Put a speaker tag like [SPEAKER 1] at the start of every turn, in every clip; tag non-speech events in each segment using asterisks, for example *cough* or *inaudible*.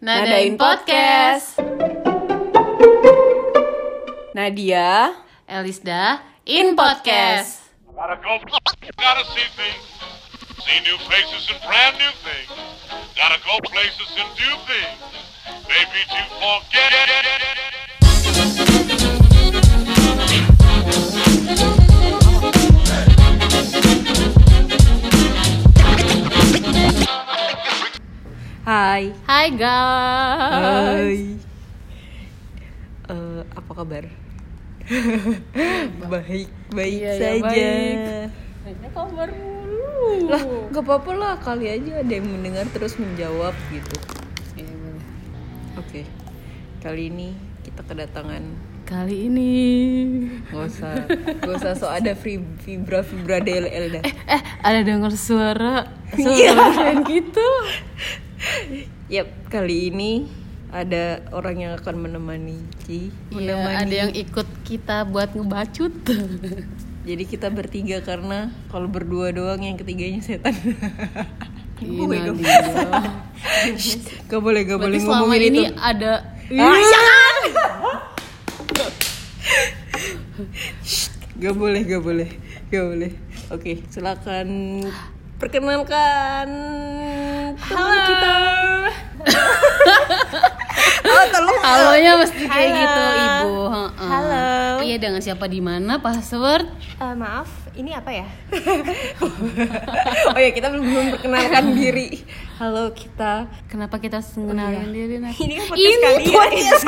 [SPEAKER 1] Nadain Podcast.
[SPEAKER 2] Nadia,
[SPEAKER 1] Elisda in podcast.
[SPEAKER 3] Gotta go, gotta see things. See new faces and brand new things. Gotta go places and do things. They beat you for get
[SPEAKER 2] hai.
[SPEAKER 1] Hai guys.
[SPEAKER 2] Eh, apa kabar? *laughs* baik, baik
[SPEAKER 1] Iya, iya,
[SPEAKER 2] saja.
[SPEAKER 1] baik. Uh. Ini kabar dulu.
[SPEAKER 2] Lah, nggak apa-apa lah. Kali aja ada yang mendengar terus menjawab gitu.
[SPEAKER 1] Iya,
[SPEAKER 2] Oke, kali ini kita kedatangan
[SPEAKER 1] Kali ini.
[SPEAKER 2] nggak usah, nggak usah so ada free fibra fibra DLL dah.
[SPEAKER 1] Eh, ada dengar suara
[SPEAKER 2] Iya.
[SPEAKER 1] suara kayak gitu.
[SPEAKER 2] Yap, kali ini ada orang yang akan menemani Ci,
[SPEAKER 1] Iya, ada yang ikut kita buat ngebacut.
[SPEAKER 2] Iya, Jadi kita bertiga karena kalau berdua doang yang ketiganya setan. *laughs*
[SPEAKER 1] Iya,
[SPEAKER 2] Gue dong.
[SPEAKER 1] Nadia.
[SPEAKER 2] Gak boleh, gak
[SPEAKER 1] Berarti
[SPEAKER 2] boleh
[SPEAKER 1] selama
[SPEAKER 2] ngomongin
[SPEAKER 1] ini
[SPEAKER 2] itu.
[SPEAKER 1] ada Iya.
[SPEAKER 2] Ah,
[SPEAKER 1] Ih,
[SPEAKER 2] jangan! gak boleh, gak boleh, gak boleh. Oke, silakan perkenalkan teman
[SPEAKER 1] *laughs*
[SPEAKER 2] kita. oh, tolong.
[SPEAKER 1] Halonya mesti kayak
[SPEAKER 2] Halo.
[SPEAKER 1] gitu, Ibu. Heeh.
[SPEAKER 4] Halo.
[SPEAKER 1] Iya, dengan siapa di mana? Password?
[SPEAKER 4] Eh, maaf, ini apa ya?
[SPEAKER 2] *laughs* oh ya, kita belum belum perkenalkan
[SPEAKER 1] *laughs*
[SPEAKER 2] diri. Halo, kita
[SPEAKER 1] Kenapa
[SPEAKER 2] Oh,
[SPEAKER 1] kita
[SPEAKER 2] iya.
[SPEAKER 1] kenalin diri Nat?
[SPEAKER 4] Ini kan podcast
[SPEAKER 1] Ini
[SPEAKER 4] kalian. *laughs*
[SPEAKER 1] podcast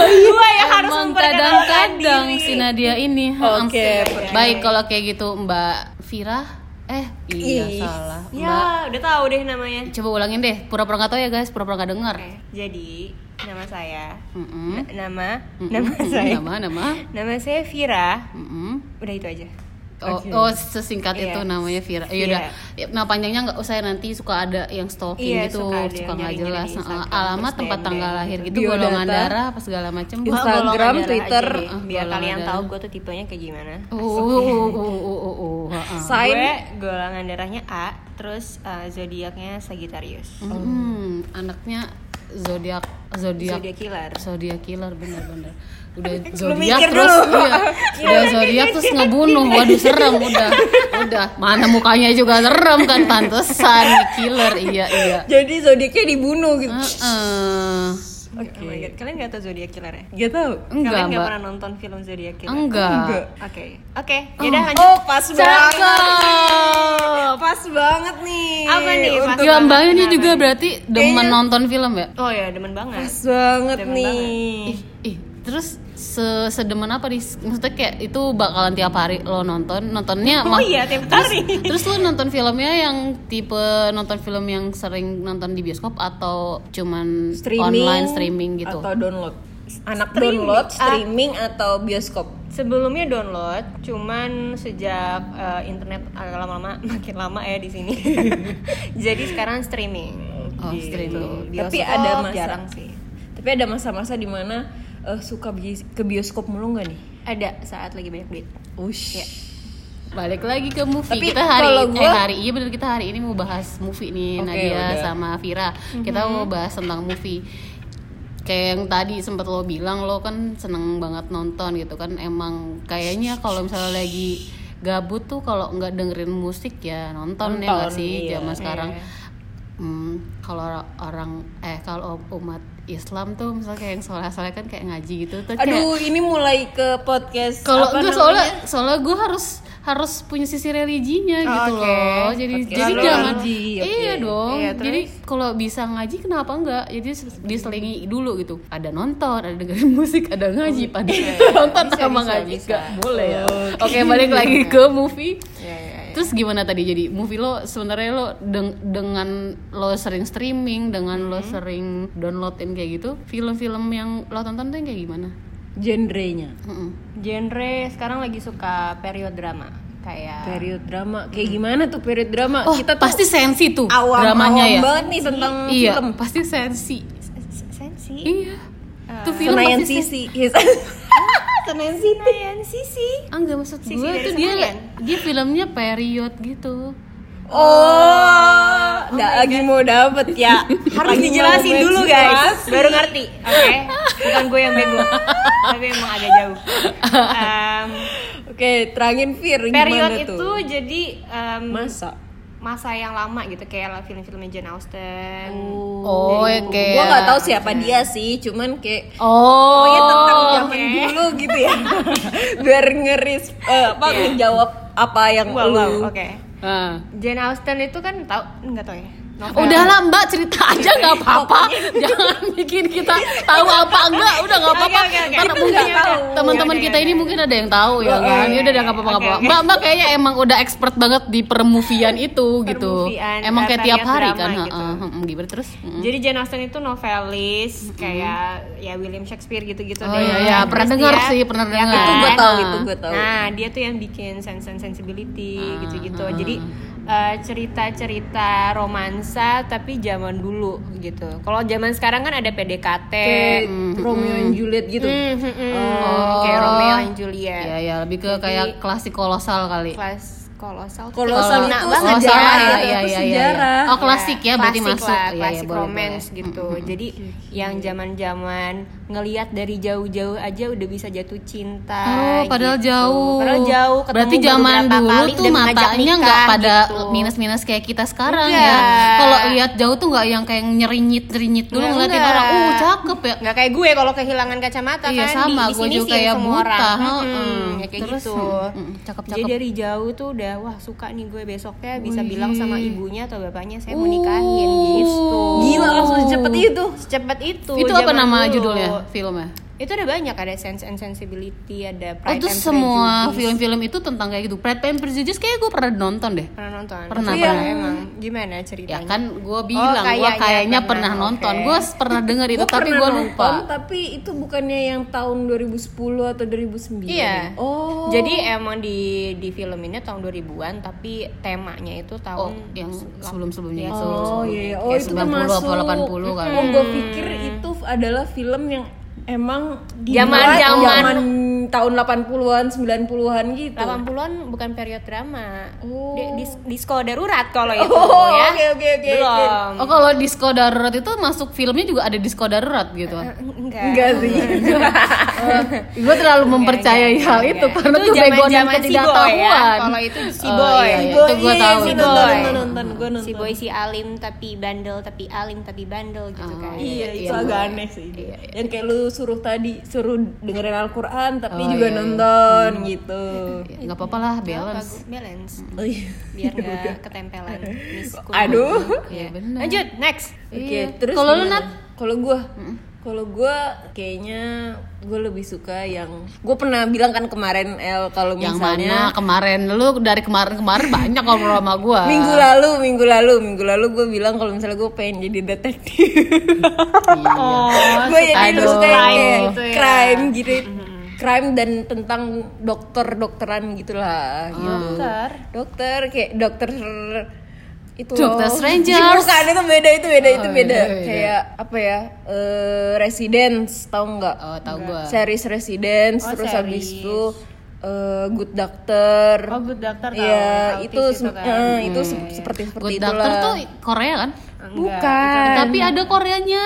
[SPEAKER 4] Gua yang harus
[SPEAKER 1] Iya, Emang
[SPEAKER 4] memperkenalkan
[SPEAKER 1] kadang-kadang
[SPEAKER 4] diri.
[SPEAKER 1] si Nadia ini
[SPEAKER 2] Oke,
[SPEAKER 1] Hmm. Baik kalau kayak gitu Mbak Vira Eh iya
[SPEAKER 2] Ih.
[SPEAKER 1] salah
[SPEAKER 4] Ya,
[SPEAKER 1] Mbak
[SPEAKER 4] udah tahu deh namanya.
[SPEAKER 1] Coba ulangin deh Pura-pura gak tau ya guys Pura-pura gak denger
[SPEAKER 4] Oke, jadi nama saya
[SPEAKER 1] Mm-mm.
[SPEAKER 4] na- nama
[SPEAKER 1] Mm-mm.
[SPEAKER 4] nama
[SPEAKER 1] Hmm,
[SPEAKER 4] saya
[SPEAKER 1] Nama nama
[SPEAKER 4] nama saya Vira.
[SPEAKER 1] Mm-mm.
[SPEAKER 4] Udah itu aja.
[SPEAKER 1] Oh,
[SPEAKER 2] Oke.
[SPEAKER 1] oh, sesingkat
[SPEAKER 4] Iya.
[SPEAKER 1] itu namanya Vira. Iya udah. Nah panjangnya nggak usah nanti suka ada yang stalking
[SPEAKER 4] Iya,
[SPEAKER 1] gitu,
[SPEAKER 4] suka ada yang
[SPEAKER 1] suka nggak
[SPEAKER 4] nyari-nyari
[SPEAKER 1] jelas.
[SPEAKER 4] di
[SPEAKER 1] Nah,
[SPEAKER 4] Instagram,
[SPEAKER 1] alamat,
[SPEAKER 4] terus
[SPEAKER 1] tempat,
[SPEAKER 4] DM,
[SPEAKER 1] tanggal
[SPEAKER 4] gitu.
[SPEAKER 1] lahir gitu,
[SPEAKER 2] Biodata.
[SPEAKER 1] golongan darah, apa segala macam.
[SPEAKER 2] Instagram,
[SPEAKER 4] Gua golongan darah aja
[SPEAKER 2] Twitter.
[SPEAKER 4] deh,
[SPEAKER 1] Ah,
[SPEAKER 4] biar
[SPEAKER 1] golongan
[SPEAKER 4] kalian
[SPEAKER 1] darah.
[SPEAKER 4] tahu gue tuh tipenya kayak gimana.
[SPEAKER 1] Oh, oh, oh, oh, oh, oh, oh, ah, ah.
[SPEAKER 2] Sign.
[SPEAKER 4] Gue golongan darahnya A, terus eh, zodiaknya Sagittarius.
[SPEAKER 1] Hmm, anaknya zodiak zodiak
[SPEAKER 4] Zodiak killer.
[SPEAKER 1] zodiak killer bener-bener udah
[SPEAKER 2] Lu
[SPEAKER 1] zodiak
[SPEAKER 2] mikir
[SPEAKER 1] terus
[SPEAKER 2] dulu.
[SPEAKER 1] iya udah zodiak terus ngebunuh waduh serem udah udah mana mukanya juga serem kan pantesan killer iya iya
[SPEAKER 2] Jadi zodiaknya dibunuh gitu.
[SPEAKER 1] Ah, Heeh.
[SPEAKER 4] Oke. Oh my God. Kalian gak tau zodiak killer ya?
[SPEAKER 2] Gak tau.
[SPEAKER 1] enggak
[SPEAKER 4] Kalian gak
[SPEAKER 1] mbak
[SPEAKER 4] pernah nonton film zodiak killer?
[SPEAKER 1] enggak
[SPEAKER 2] Enggak.
[SPEAKER 4] Oke. Oke, yaudah lanjut.
[SPEAKER 2] Oh, pas
[SPEAKER 1] cakep
[SPEAKER 2] Pas banget nih.
[SPEAKER 4] Apa nih, pas
[SPEAKER 2] Untuk-
[SPEAKER 1] ya mbak ini juga berarti demen nonton film ya
[SPEAKER 4] Oh ya, demen banget.
[SPEAKER 2] Pas banget
[SPEAKER 4] Demen
[SPEAKER 2] nih.
[SPEAKER 1] Ih, ih, terus se- sedemen apa nih? Maksudnya kayak itu bakalan tiap hari lo nonton, nontonnya
[SPEAKER 4] Oh
[SPEAKER 1] mak-
[SPEAKER 4] iya, tiap hari.
[SPEAKER 1] Terus lo nonton filmnya yang tipe nonton film yang sering nonton di bioskop atau cuman online streaming gitu?
[SPEAKER 2] atau download. Anak
[SPEAKER 4] Streaming.
[SPEAKER 2] download,
[SPEAKER 4] Ah.
[SPEAKER 2] streaming atau bioskop.
[SPEAKER 4] Sebelumnya download, cuman sejak eh, internet agak lama-lama *laughs* makin lama ya di sini. *laughs* Jadi sekarang streaming.
[SPEAKER 1] Oh, streaming.
[SPEAKER 2] Tapi
[SPEAKER 4] Bioskop
[SPEAKER 2] ada masa
[SPEAKER 4] jarang sih.
[SPEAKER 2] Tapi ada masa-masa di mana eh, suka bi- ke bioskop mulu nggak nih?
[SPEAKER 4] Ada saat lagi banyak duit.
[SPEAKER 2] Ush.
[SPEAKER 1] Balik lagi ke movie.
[SPEAKER 2] Tapi
[SPEAKER 1] kita hari
[SPEAKER 2] kalau
[SPEAKER 1] eh
[SPEAKER 2] gua-
[SPEAKER 1] hari iya bener kita hari ini mau bahas movie nih
[SPEAKER 2] Oke,
[SPEAKER 1] Nadia
[SPEAKER 2] udah. Mhm.
[SPEAKER 1] sama Vira. Kita mau bahas tentang movie. Kayak yang tadi sempat lo bilang lo kan seneng banget nonton gitu kan. Emang kayaknya kalau misalnya lagi gabut tuh kalau nggak dengerin musik ya nonton, ya nggak
[SPEAKER 2] Nonton,
[SPEAKER 1] sih
[SPEAKER 2] iya.
[SPEAKER 1] zaman sekarang. Hmm, kalau ora- orang eh kalau umat Islam tuh misalnya kayak yang soleh-soleh kan kayak ngaji gitu tuh kayak
[SPEAKER 2] Aduh, ini mulai ke podcast.
[SPEAKER 1] kalau
[SPEAKER 2] apa
[SPEAKER 1] enggak
[SPEAKER 2] namanya?
[SPEAKER 1] soalnya soalnya gue harus harus punya sisi religinya gitu
[SPEAKER 4] Oke.
[SPEAKER 1] loh jadi
[SPEAKER 2] Oke.
[SPEAKER 1] jadi
[SPEAKER 2] Lalu
[SPEAKER 1] jangan
[SPEAKER 2] ngaji, oke.
[SPEAKER 1] iya dong
[SPEAKER 4] Iya, terus?
[SPEAKER 1] jadi kalau bisa ngaji kenapa enggak jadi se- diselingi dulu gitu ada nonton ada dengerin *laughs* musik ada ngaji pada nonton sama ngaji enggak boleh ya oke balik lagi ke movie Terus gimana tadi jadi movie lo sebenarnya lo deng- dengan lo sering streaming dengan lo sering downloadin kayak gitu film-film yang lo tonton tuh yang kayak gimana?
[SPEAKER 2] genrenya.
[SPEAKER 1] Mm-mm.
[SPEAKER 4] Genre sekarang lagi suka period drama kayak
[SPEAKER 2] Period drama. Kayak gimana tuh period drama?
[SPEAKER 1] Oh,
[SPEAKER 2] Kita tuh
[SPEAKER 1] pasti sensi tuh
[SPEAKER 2] awam,
[SPEAKER 1] dramanya
[SPEAKER 2] awam
[SPEAKER 1] ya.
[SPEAKER 2] banget nih tentang
[SPEAKER 1] Iya,
[SPEAKER 2] film.
[SPEAKER 1] pasti sensi.
[SPEAKER 4] S- sensi.
[SPEAKER 1] Iya.
[SPEAKER 5] Eh,
[SPEAKER 1] tuh film
[SPEAKER 2] Senayan
[SPEAKER 1] pasti
[SPEAKER 2] Sisi.
[SPEAKER 4] Senayan Sisi.
[SPEAKER 1] Ah, enggak maksud
[SPEAKER 4] Sisi
[SPEAKER 1] gue
[SPEAKER 4] dari
[SPEAKER 1] tuh dia
[SPEAKER 4] Senayan.
[SPEAKER 1] dia filmnya period gitu.
[SPEAKER 5] Oh, nggak lagi mau dapet ya.
[SPEAKER 4] harus
[SPEAKER 5] Lagi
[SPEAKER 4] dijelasin
[SPEAKER 5] mau
[SPEAKER 4] dulu
[SPEAKER 5] jelas.
[SPEAKER 4] guys baru ngerti oke bukan gue yang bego tapi emang agak jauh Em,
[SPEAKER 5] Oke, terangin Fir gimana
[SPEAKER 4] period
[SPEAKER 5] tuh?
[SPEAKER 4] itu jadi em,
[SPEAKER 5] masa.
[SPEAKER 4] masa yang lama gitu kayak lah film-filmnya Jane Austen
[SPEAKER 1] Oh, ya kayak
[SPEAKER 5] Gua nggak tahu siapa dia sih, cuman kayak
[SPEAKER 1] Oh,
[SPEAKER 5] pokoknya tentang
[SPEAKER 1] oh,
[SPEAKER 5] zaman dulu gitu ya. *laughs* Biar ngeris eh, apa menjawab apa yang
[SPEAKER 4] wow
[SPEAKER 5] lu.
[SPEAKER 4] wow oke
[SPEAKER 1] Ah.
[SPEAKER 4] Jane Austen itu kan tahu nggak tahu ya novel
[SPEAKER 1] Udahlah Mbak cerita aja nggak apa-apa, *laughs* jangan bikin kita tahu apa enggak, udah nggak apa-apa.
[SPEAKER 4] Oke, oke, oke.
[SPEAKER 1] Ntar
[SPEAKER 4] Itu
[SPEAKER 1] mungkin
[SPEAKER 4] nggak tahu.
[SPEAKER 1] teman-teman
[SPEAKER 4] Oke,
[SPEAKER 1] kita
[SPEAKER 4] oke,
[SPEAKER 1] ini mungkin ada yang tahu ya kan, ya udah nggak apa-apa
[SPEAKER 4] oke,
[SPEAKER 1] nggak apa-apa.
[SPEAKER 4] oke.
[SPEAKER 1] Mbak Mbak kayaknya emang udah expert banget di
[SPEAKER 4] *laughs*
[SPEAKER 1] permuvian itu gitu,
[SPEAKER 4] Permuvian,
[SPEAKER 1] emang kayak
[SPEAKER 4] eh,
[SPEAKER 1] tiap
[SPEAKER 4] period
[SPEAKER 1] hari
[SPEAKER 4] drama
[SPEAKER 1] kan,
[SPEAKER 4] gitu.
[SPEAKER 1] heeh, heeh, gimana terus? Heeh.
[SPEAKER 4] Jadi Jane Austen itu novelis kayak ya William Shakespeare gitu-gitu
[SPEAKER 1] Oh
[SPEAKER 4] deh.
[SPEAKER 1] iya, iya. Pernah
[SPEAKER 4] Terus
[SPEAKER 1] dengar
[SPEAKER 4] dia-
[SPEAKER 1] sih, pernah
[SPEAKER 4] ya
[SPEAKER 1] dengar.
[SPEAKER 4] kan?
[SPEAKER 5] Itu gua tahu, itu gua tahu.
[SPEAKER 4] Nah, dia tuh yang bikin Sense and Sensibility
[SPEAKER 1] Ah,
[SPEAKER 4] gitu-gitu. Jadi eh, cerita-cerita romansa tapi zaman dulu gitu. Kalau zaman sekarang kan ada PDKT.
[SPEAKER 5] Kayak
[SPEAKER 1] gitu.
[SPEAKER 5] Romeo and Juliet gitu.
[SPEAKER 4] Hmm, hmm, hmm.
[SPEAKER 1] Oh.
[SPEAKER 4] Kayak Romeo and Juliet.
[SPEAKER 1] Ya ya lebih ke kayak klasik kolosal kali.
[SPEAKER 4] Kelas kolosal.
[SPEAKER 5] Kolosal
[SPEAKER 4] Kena
[SPEAKER 5] itu
[SPEAKER 4] banget
[SPEAKER 1] Kolosal,
[SPEAKER 5] sejarah
[SPEAKER 1] iya,
[SPEAKER 5] ya,
[SPEAKER 1] iya,
[SPEAKER 5] itu
[SPEAKER 1] iya, iya.
[SPEAKER 5] sejarah.
[SPEAKER 1] Oh klasik ya, berarti
[SPEAKER 4] klasik
[SPEAKER 1] masuk.
[SPEAKER 4] lah,
[SPEAKER 1] Iya, iya,
[SPEAKER 4] klasik
[SPEAKER 1] boleh,
[SPEAKER 4] romance
[SPEAKER 1] boleh.
[SPEAKER 4] gitu jadi yang zaman zaman ngelihat dari jauh-jauh aja udah bisa jatuh cinta
[SPEAKER 1] Oh, padahal
[SPEAKER 4] gitu.
[SPEAKER 1] jauh.
[SPEAKER 4] padahal jauh ketemu
[SPEAKER 1] Berarti
[SPEAKER 4] baru
[SPEAKER 1] zaman
[SPEAKER 4] berapa
[SPEAKER 1] dulu
[SPEAKER 4] kali
[SPEAKER 1] tuh
[SPEAKER 4] dan ngajak
[SPEAKER 1] matanya
[SPEAKER 4] nikah,
[SPEAKER 1] nggak pada
[SPEAKER 4] gitu.
[SPEAKER 1] minus-minus kayak kita sekarang ya.
[SPEAKER 4] Enggak.
[SPEAKER 1] Kalau lihat jauh tuh nggak yang kayak nyerinyit-nyerinyit dulu
[SPEAKER 4] Enggak,
[SPEAKER 1] ngeliatin
[SPEAKER 4] enggak.
[SPEAKER 1] orang, "Uh, cakep ya."
[SPEAKER 4] Ya nggak kayak gue kalau kehilangan kacamata
[SPEAKER 1] Iya,
[SPEAKER 4] kan
[SPEAKER 1] sama.
[SPEAKER 4] di, di
[SPEAKER 1] Gue
[SPEAKER 4] sini
[SPEAKER 1] juga
[SPEAKER 4] sih
[SPEAKER 1] kayak
[SPEAKER 4] semua orang
[SPEAKER 1] buta,
[SPEAKER 4] Mm-mm,
[SPEAKER 1] heeh.
[SPEAKER 4] ya kayak
[SPEAKER 1] Terus,
[SPEAKER 4] gitu
[SPEAKER 1] mm, mm, cakep-cakep.
[SPEAKER 4] jadi dari jauh tuh udah wah suka nih gue besoknya bisa
[SPEAKER 1] Wih.
[SPEAKER 4] bilang sama ibunya atau bapaknya saya mau
[SPEAKER 1] Uh.
[SPEAKER 4] nikahin gitu
[SPEAKER 5] Gila langsung cepet itu.
[SPEAKER 4] secepat itu
[SPEAKER 1] Itu apa
[SPEAKER 4] zaman
[SPEAKER 1] nama
[SPEAKER 4] dulu.
[SPEAKER 1] judulnya filmnya?
[SPEAKER 4] itu ada banyak ada sense and sensibility ada
[SPEAKER 1] Oh,
[SPEAKER 4] pride
[SPEAKER 1] itu
[SPEAKER 4] and
[SPEAKER 1] semua
[SPEAKER 4] Prejudice.
[SPEAKER 1] film-film itu tentang kayak gitu. Pride and Prejudice kayak gue pernah nonton deh.
[SPEAKER 4] pernah nonton
[SPEAKER 1] Pernah,
[SPEAKER 4] Iya,
[SPEAKER 1] pernah.
[SPEAKER 4] emang gimana
[SPEAKER 1] Ya
[SPEAKER 4] ceritanya
[SPEAKER 1] kan gue bilang, gue
[SPEAKER 4] Oh, kayaknya
[SPEAKER 1] kayaknya
[SPEAKER 4] pernah,
[SPEAKER 1] pernah, nonton.
[SPEAKER 4] oke.
[SPEAKER 1] Gue pernah denger itu,
[SPEAKER 5] Gua
[SPEAKER 1] tapi
[SPEAKER 5] pernah
[SPEAKER 1] gue
[SPEAKER 5] nonton,
[SPEAKER 1] lupa.
[SPEAKER 5] tapi itu bukannya yang tahun 2010 atau 2009.
[SPEAKER 4] Iya.
[SPEAKER 5] Oh.
[SPEAKER 4] Jadi emang di di film ini tahun 2000-an tapi temanya itu
[SPEAKER 1] Oh,
[SPEAKER 4] tahun
[SPEAKER 1] yang sebelum-sebelumnya itu.
[SPEAKER 5] Oh iya, oh
[SPEAKER 1] Kayak
[SPEAKER 5] itu
[SPEAKER 1] 90
[SPEAKER 5] termasuk
[SPEAKER 1] atau 80 kali.
[SPEAKER 5] Oh, gue pikir itu adalah film yang emang di
[SPEAKER 4] Zaman- zaman-
[SPEAKER 5] tahun 80-an, 90-an
[SPEAKER 1] Ah.
[SPEAKER 5] gitu.
[SPEAKER 4] 80-an bukan period drama.
[SPEAKER 5] Oh.
[SPEAKER 4] Di, dis- disko darurat
[SPEAKER 5] *laughs*
[SPEAKER 4] kalau itu
[SPEAKER 5] Oh,
[SPEAKER 4] ya.
[SPEAKER 5] oke, oke, oke, oke.
[SPEAKER 4] Belum.
[SPEAKER 1] Oh kalau disco darurat itu masuk filmnya juga ada disco darurat gitu.
[SPEAKER 4] Enggak.
[SPEAKER 5] Enggak sih.
[SPEAKER 1] *laughs* Gue terlalu mempercayai hal itu karena tuh bego dan
[SPEAKER 4] zaman-zaman si boy
[SPEAKER 1] ketidaktahuan.
[SPEAKER 4] Ya. Kalau itu si
[SPEAKER 1] Oh,
[SPEAKER 4] boy.
[SPEAKER 1] iya, iya,
[SPEAKER 4] Si boy.
[SPEAKER 1] Itu gue
[SPEAKER 5] kan Iya,
[SPEAKER 1] tahu.
[SPEAKER 5] iya,
[SPEAKER 4] si
[SPEAKER 1] itu.
[SPEAKER 5] nonton,
[SPEAKER 4] boy.
[SPEAKER 5] nonton, nonton, gue nonton.
[SPEAKER 4] Si boy si alim tapi bandel tapi alim tapi bandel gitu kan.
[SPEAKER 5] Iya,
[SPEAKER 1] Iya,
[SPEAKER 5] itu
[SPEAKER 1] iya,
[SPEAKER 5] agak
[SPEAKER 1] iya.
[SPEAKER 5] aneh sih.
[SPEAKER 1] Iya,
[SPEAKER 5] Yang kayak lu suruh tadi, suruh dengerin Al-Quran tapi
[SPEAKER 1] Oh,
[SPEAKER 5] juga
[SPEAKER 1] iya, iya.
[SPEAKER 5] nonton gitu.
[SPEAKER 1] Ya, Nggak apa-apa lah balance.
[SPEAKER 4] Bagus, balance.
[SPEAKER 5] Oh, iya. *laughs*
[SPEAKER 4] Biar nggak ketempelan. misku.
[SPEAKER 5] Aduh.
[SPEAKER 1] Iya benar.
[SPEAKER 4] Lanjut, next.
[SPEAKER 5] Oke,
[SPEAKER 1] Iya.
[SPEAKER 5] terus
[SPEAKER 1] Kalau lu,
[SPEAKER 5] gimana?
[SPEAKER 1] Nat?
[SPEAKER 5] Kalau Mm-hmm. gua, kalau gua kayaknya gue lebih suka yang gue pernah bilang kan kemarin El kalau
[SPEAKER 1] Yang
[SPEAKER 5] misalnya
[SPEAKER 1] mana kemarin lu dari kemarin-kemarin banyak ngobrol sama gue.
[SPEAKER 5] minggu lalu, minggu lalu, minggu lalu gue bilang kalau misalnya gue pengen jadi detektif. gue jadi
[SPEAKER 1] aduh.
[SPEAKER 5] lu suka yang
[SPEAKER 1] Crime
[SPEAKER 5] kayak
[SPEAKER 4] gitu ya.
[SPEAKER 5] crime gitu. Crime dan tentang dokter-dokteran
[SPEAKER 1] Ah.
[SPEAKER 5] gitulah gitu.
[SPEAKER 4] Dokter.
[SPEAKER 5] Dokter kayak dokter itu
[SPEAKER 1] Dokter
[SPEAKER 5] loh.
[SPEAKER 1] Strangers.
[SPEAKER 5] Bukan Oh, itu beda itu beda itu
[SPEAKER 1] Oh,
[SPEAKER 5] beda.
[SPEAKER 1] beda, beda.
[SPEAKER 5] Kayak apa ya? Eh residence tahu nggak?
[SPEAKER 1] Oh tahu gue.
[SPEAKER 5] series Residence
[SPEAKER 4] Eh. Oh,
[SPEAKER 5] terus
[SPEAKER 4] series.
[SPEAKER 5] habis itu eh, Good Doctor.
[SPEAKER 4] Oh, Good Doctor tahu.
[SPEAKER 5] Iya,
[SPEAKER 4] Autis
[SPEAKER 5] itu
[SPEAKER 4] itu
[SPEAKER 5] sem-
[SPEAKER 4] kan.
[SPEAKER 5] eh, itu se- seperti seperti
[SPEAKER 1] Good
[SPEAKER 5] itulah.
[SPEAKER 1] Doctor tuh Korea kan?
[SPEAKER 5] Bukan.
[SPEAKER 1] Tapi ada Koreanya.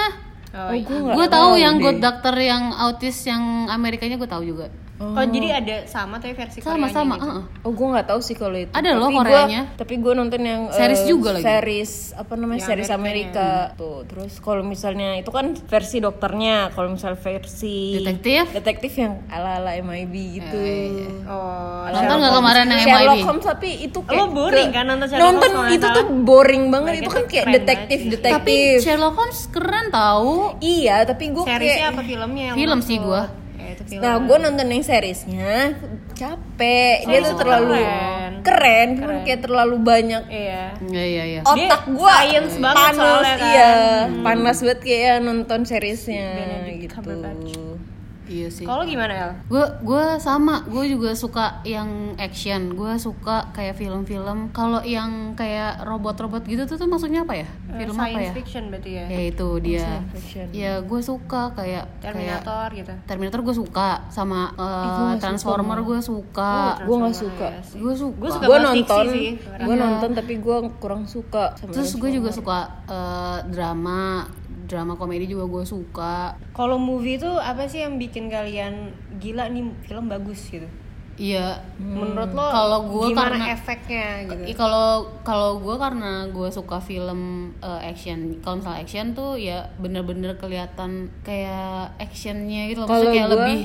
[SPEAKER 4] Oh,
[SPEAKER 5] Oh, gua nggak
[SPEAKER 1] Gue tahu yang
[SPEAKER 5] deh.
[SPEAKER 1] Good Doctor yang autis yang Amerikanya gue tahu juga.
[SPEAKER 4] Oh, jadi ada sama tapi versi Koreanya
[SPEAKER 1] Sama-sama.
[SPEAKER 4] gitu.
[SPEAKER 1] heeh.
[SPEAKER 5] Oh gue nggak tahu sih kalau itu.
[SPEAKER 1] Ada loh
[SPEAKER 5] Tapi gua-
[SPEAKER 1] Koreanya.
[SPEAKER 5] tapi gue nonton yang
[SPEAKER 1] Series
[SPEAKER 5] eh,
[SPEAKER 1] juga lagi.
[SPEAKER 5] Series apa namanya series Amerika tuh. Terus kalau misalnya itu kan versi dokternya. Kalau misal versi
[SPEAKER 1] Detektif?
[SPEAKER 5] detektif yang ala ala MIB
[SPEAKER 4] Iya.
[SPEAKER 5] gitu.
[SPEAKER 4] Oh,
[SPEAKER 1] Nonton nggak kemarin yang
[SPEAKER 5] Sherlock
[SPEAKER 1] MIB?
[SPEAKER 5] Holmes tapi itu kayak
[SPEAKER 4] Lo boring
[SPEAKER 5] ke-
[SPEAKER 4] kan nonton Sherlock
[SPEAKER 5] Nonton
[SPEAKER 4] Holmes, kalau
[SPEAKER 5] itu
[SPEAKER 4] nggak
[SPEAKER 5] tuh
[SPEAKER 4] salah?
[SPEAKER 5] boring banget.
[SPEAKER 4] Mereka
[SPEAKER 5] Itu kan
[SPEAKER 4] tuh
[SPEAKER 5] kayak
[SPEAKER 4] keren
[SPEAKER 5] detektif
[SPEAKER 4] banget sih.
[SPEAKER 1] Tapi
[SPEAKER 5] detektif.
[SPEAKER 1] Sherlock Holmes keren tahu.
[SPEAKER 5] iya tapi gue
[SPEAKER 4] seriesnya
[SPEAKER 5] kayak
[SPEAKER 4] apa filmnya yang
[SPEAKER 1] Film
[SPEAKER 4] masuk?
[SPEAKER 1] sih gua.
[SPEAKER 4] Ya, itu film.
[SPEAKER 5] Nah, gue nonton yang seriesnya capek. Dia tuh terlalu
[SPEAKER 4] keren.
[SPEAKER 5] keren, cuman kayak terlalu banyak
[SPEAKER 4] iya.
[SPEAKER 1] Iya iya iya.
[SPEAKER 5] otak
[SPEAKER 4] Dia
[SPEAKER 5] gua
[SPEAKER 4] science banget
[SPEAKER 5] panas,
[SPEAKER 4] soalnya kan.
[SPEAKER 5] ya
[SPEAKER 4] Iya,
[SPEAKER 5] iya panas banget kayak nonton seriesnya gitu Iya sih.
[SPEAKER 4] Kalau gimana El?
[SPEAKER 1] gue gue sama gue juga suka yang action gue suka kayak film-film kalau yang kayak robot-robot gitu tuh tuh maksudnya apa ya
[SPEAKER 4] Eh,
[SPEAKER 1] film apa
[SPEAKER 4] Science
[SPEAKER 1] ya
[SPEAKER 4] fiction berarti ya.
[SPEAKER 1] ya itu dia
[SPEAKER 5] Science fiction.
[SPEAKER 1] ya gue suka kayak kayak
[SPEAKER 4] Terminator gitu.
[SPEAKER 1] Terminator gue suka sama eh, Transformer gue suka
[SPEAKER 5] Gue nggak suka.
[SPEAKER 1] gue suka,
[SPEAKER 4] Gua suka
[SPEAKER 5] Gue
[SPEAKER 4] banget fiksi
[SPEAKER 5] nonton,
[SPEAKER 4] sih.
[SPEAKER 5] gue nonton tapi gue kurang suka. Sama
[SPEAKER 1] terus gue juga suka eh, drama drama komedi juga gue suka
[SPEAKER 4] Kalau movie itu apa sih yang bikin kalian gila nih film bagus gitu?
[SPEAKER 1] iya
[SPEAKER 4] Menurut lo
[SPEAKER 1] Kalau gua
[SPEAKER 4] gimana
[SPEAKER 1] karena- Iya.
[SPEAKER 4] efeknya gitu?
[SPEAKER 1] I- kalau kalau gue karena gue suka film eh, action kalau misalnya action tuh ya bener-bener kelihatan kayak actionnya gitu loh
[SPEAKER 5] Kalau
[SPEAKER 1] Maksudnya kayak
[SPEAKER 5] gua-
[SPEAKER 1] lebih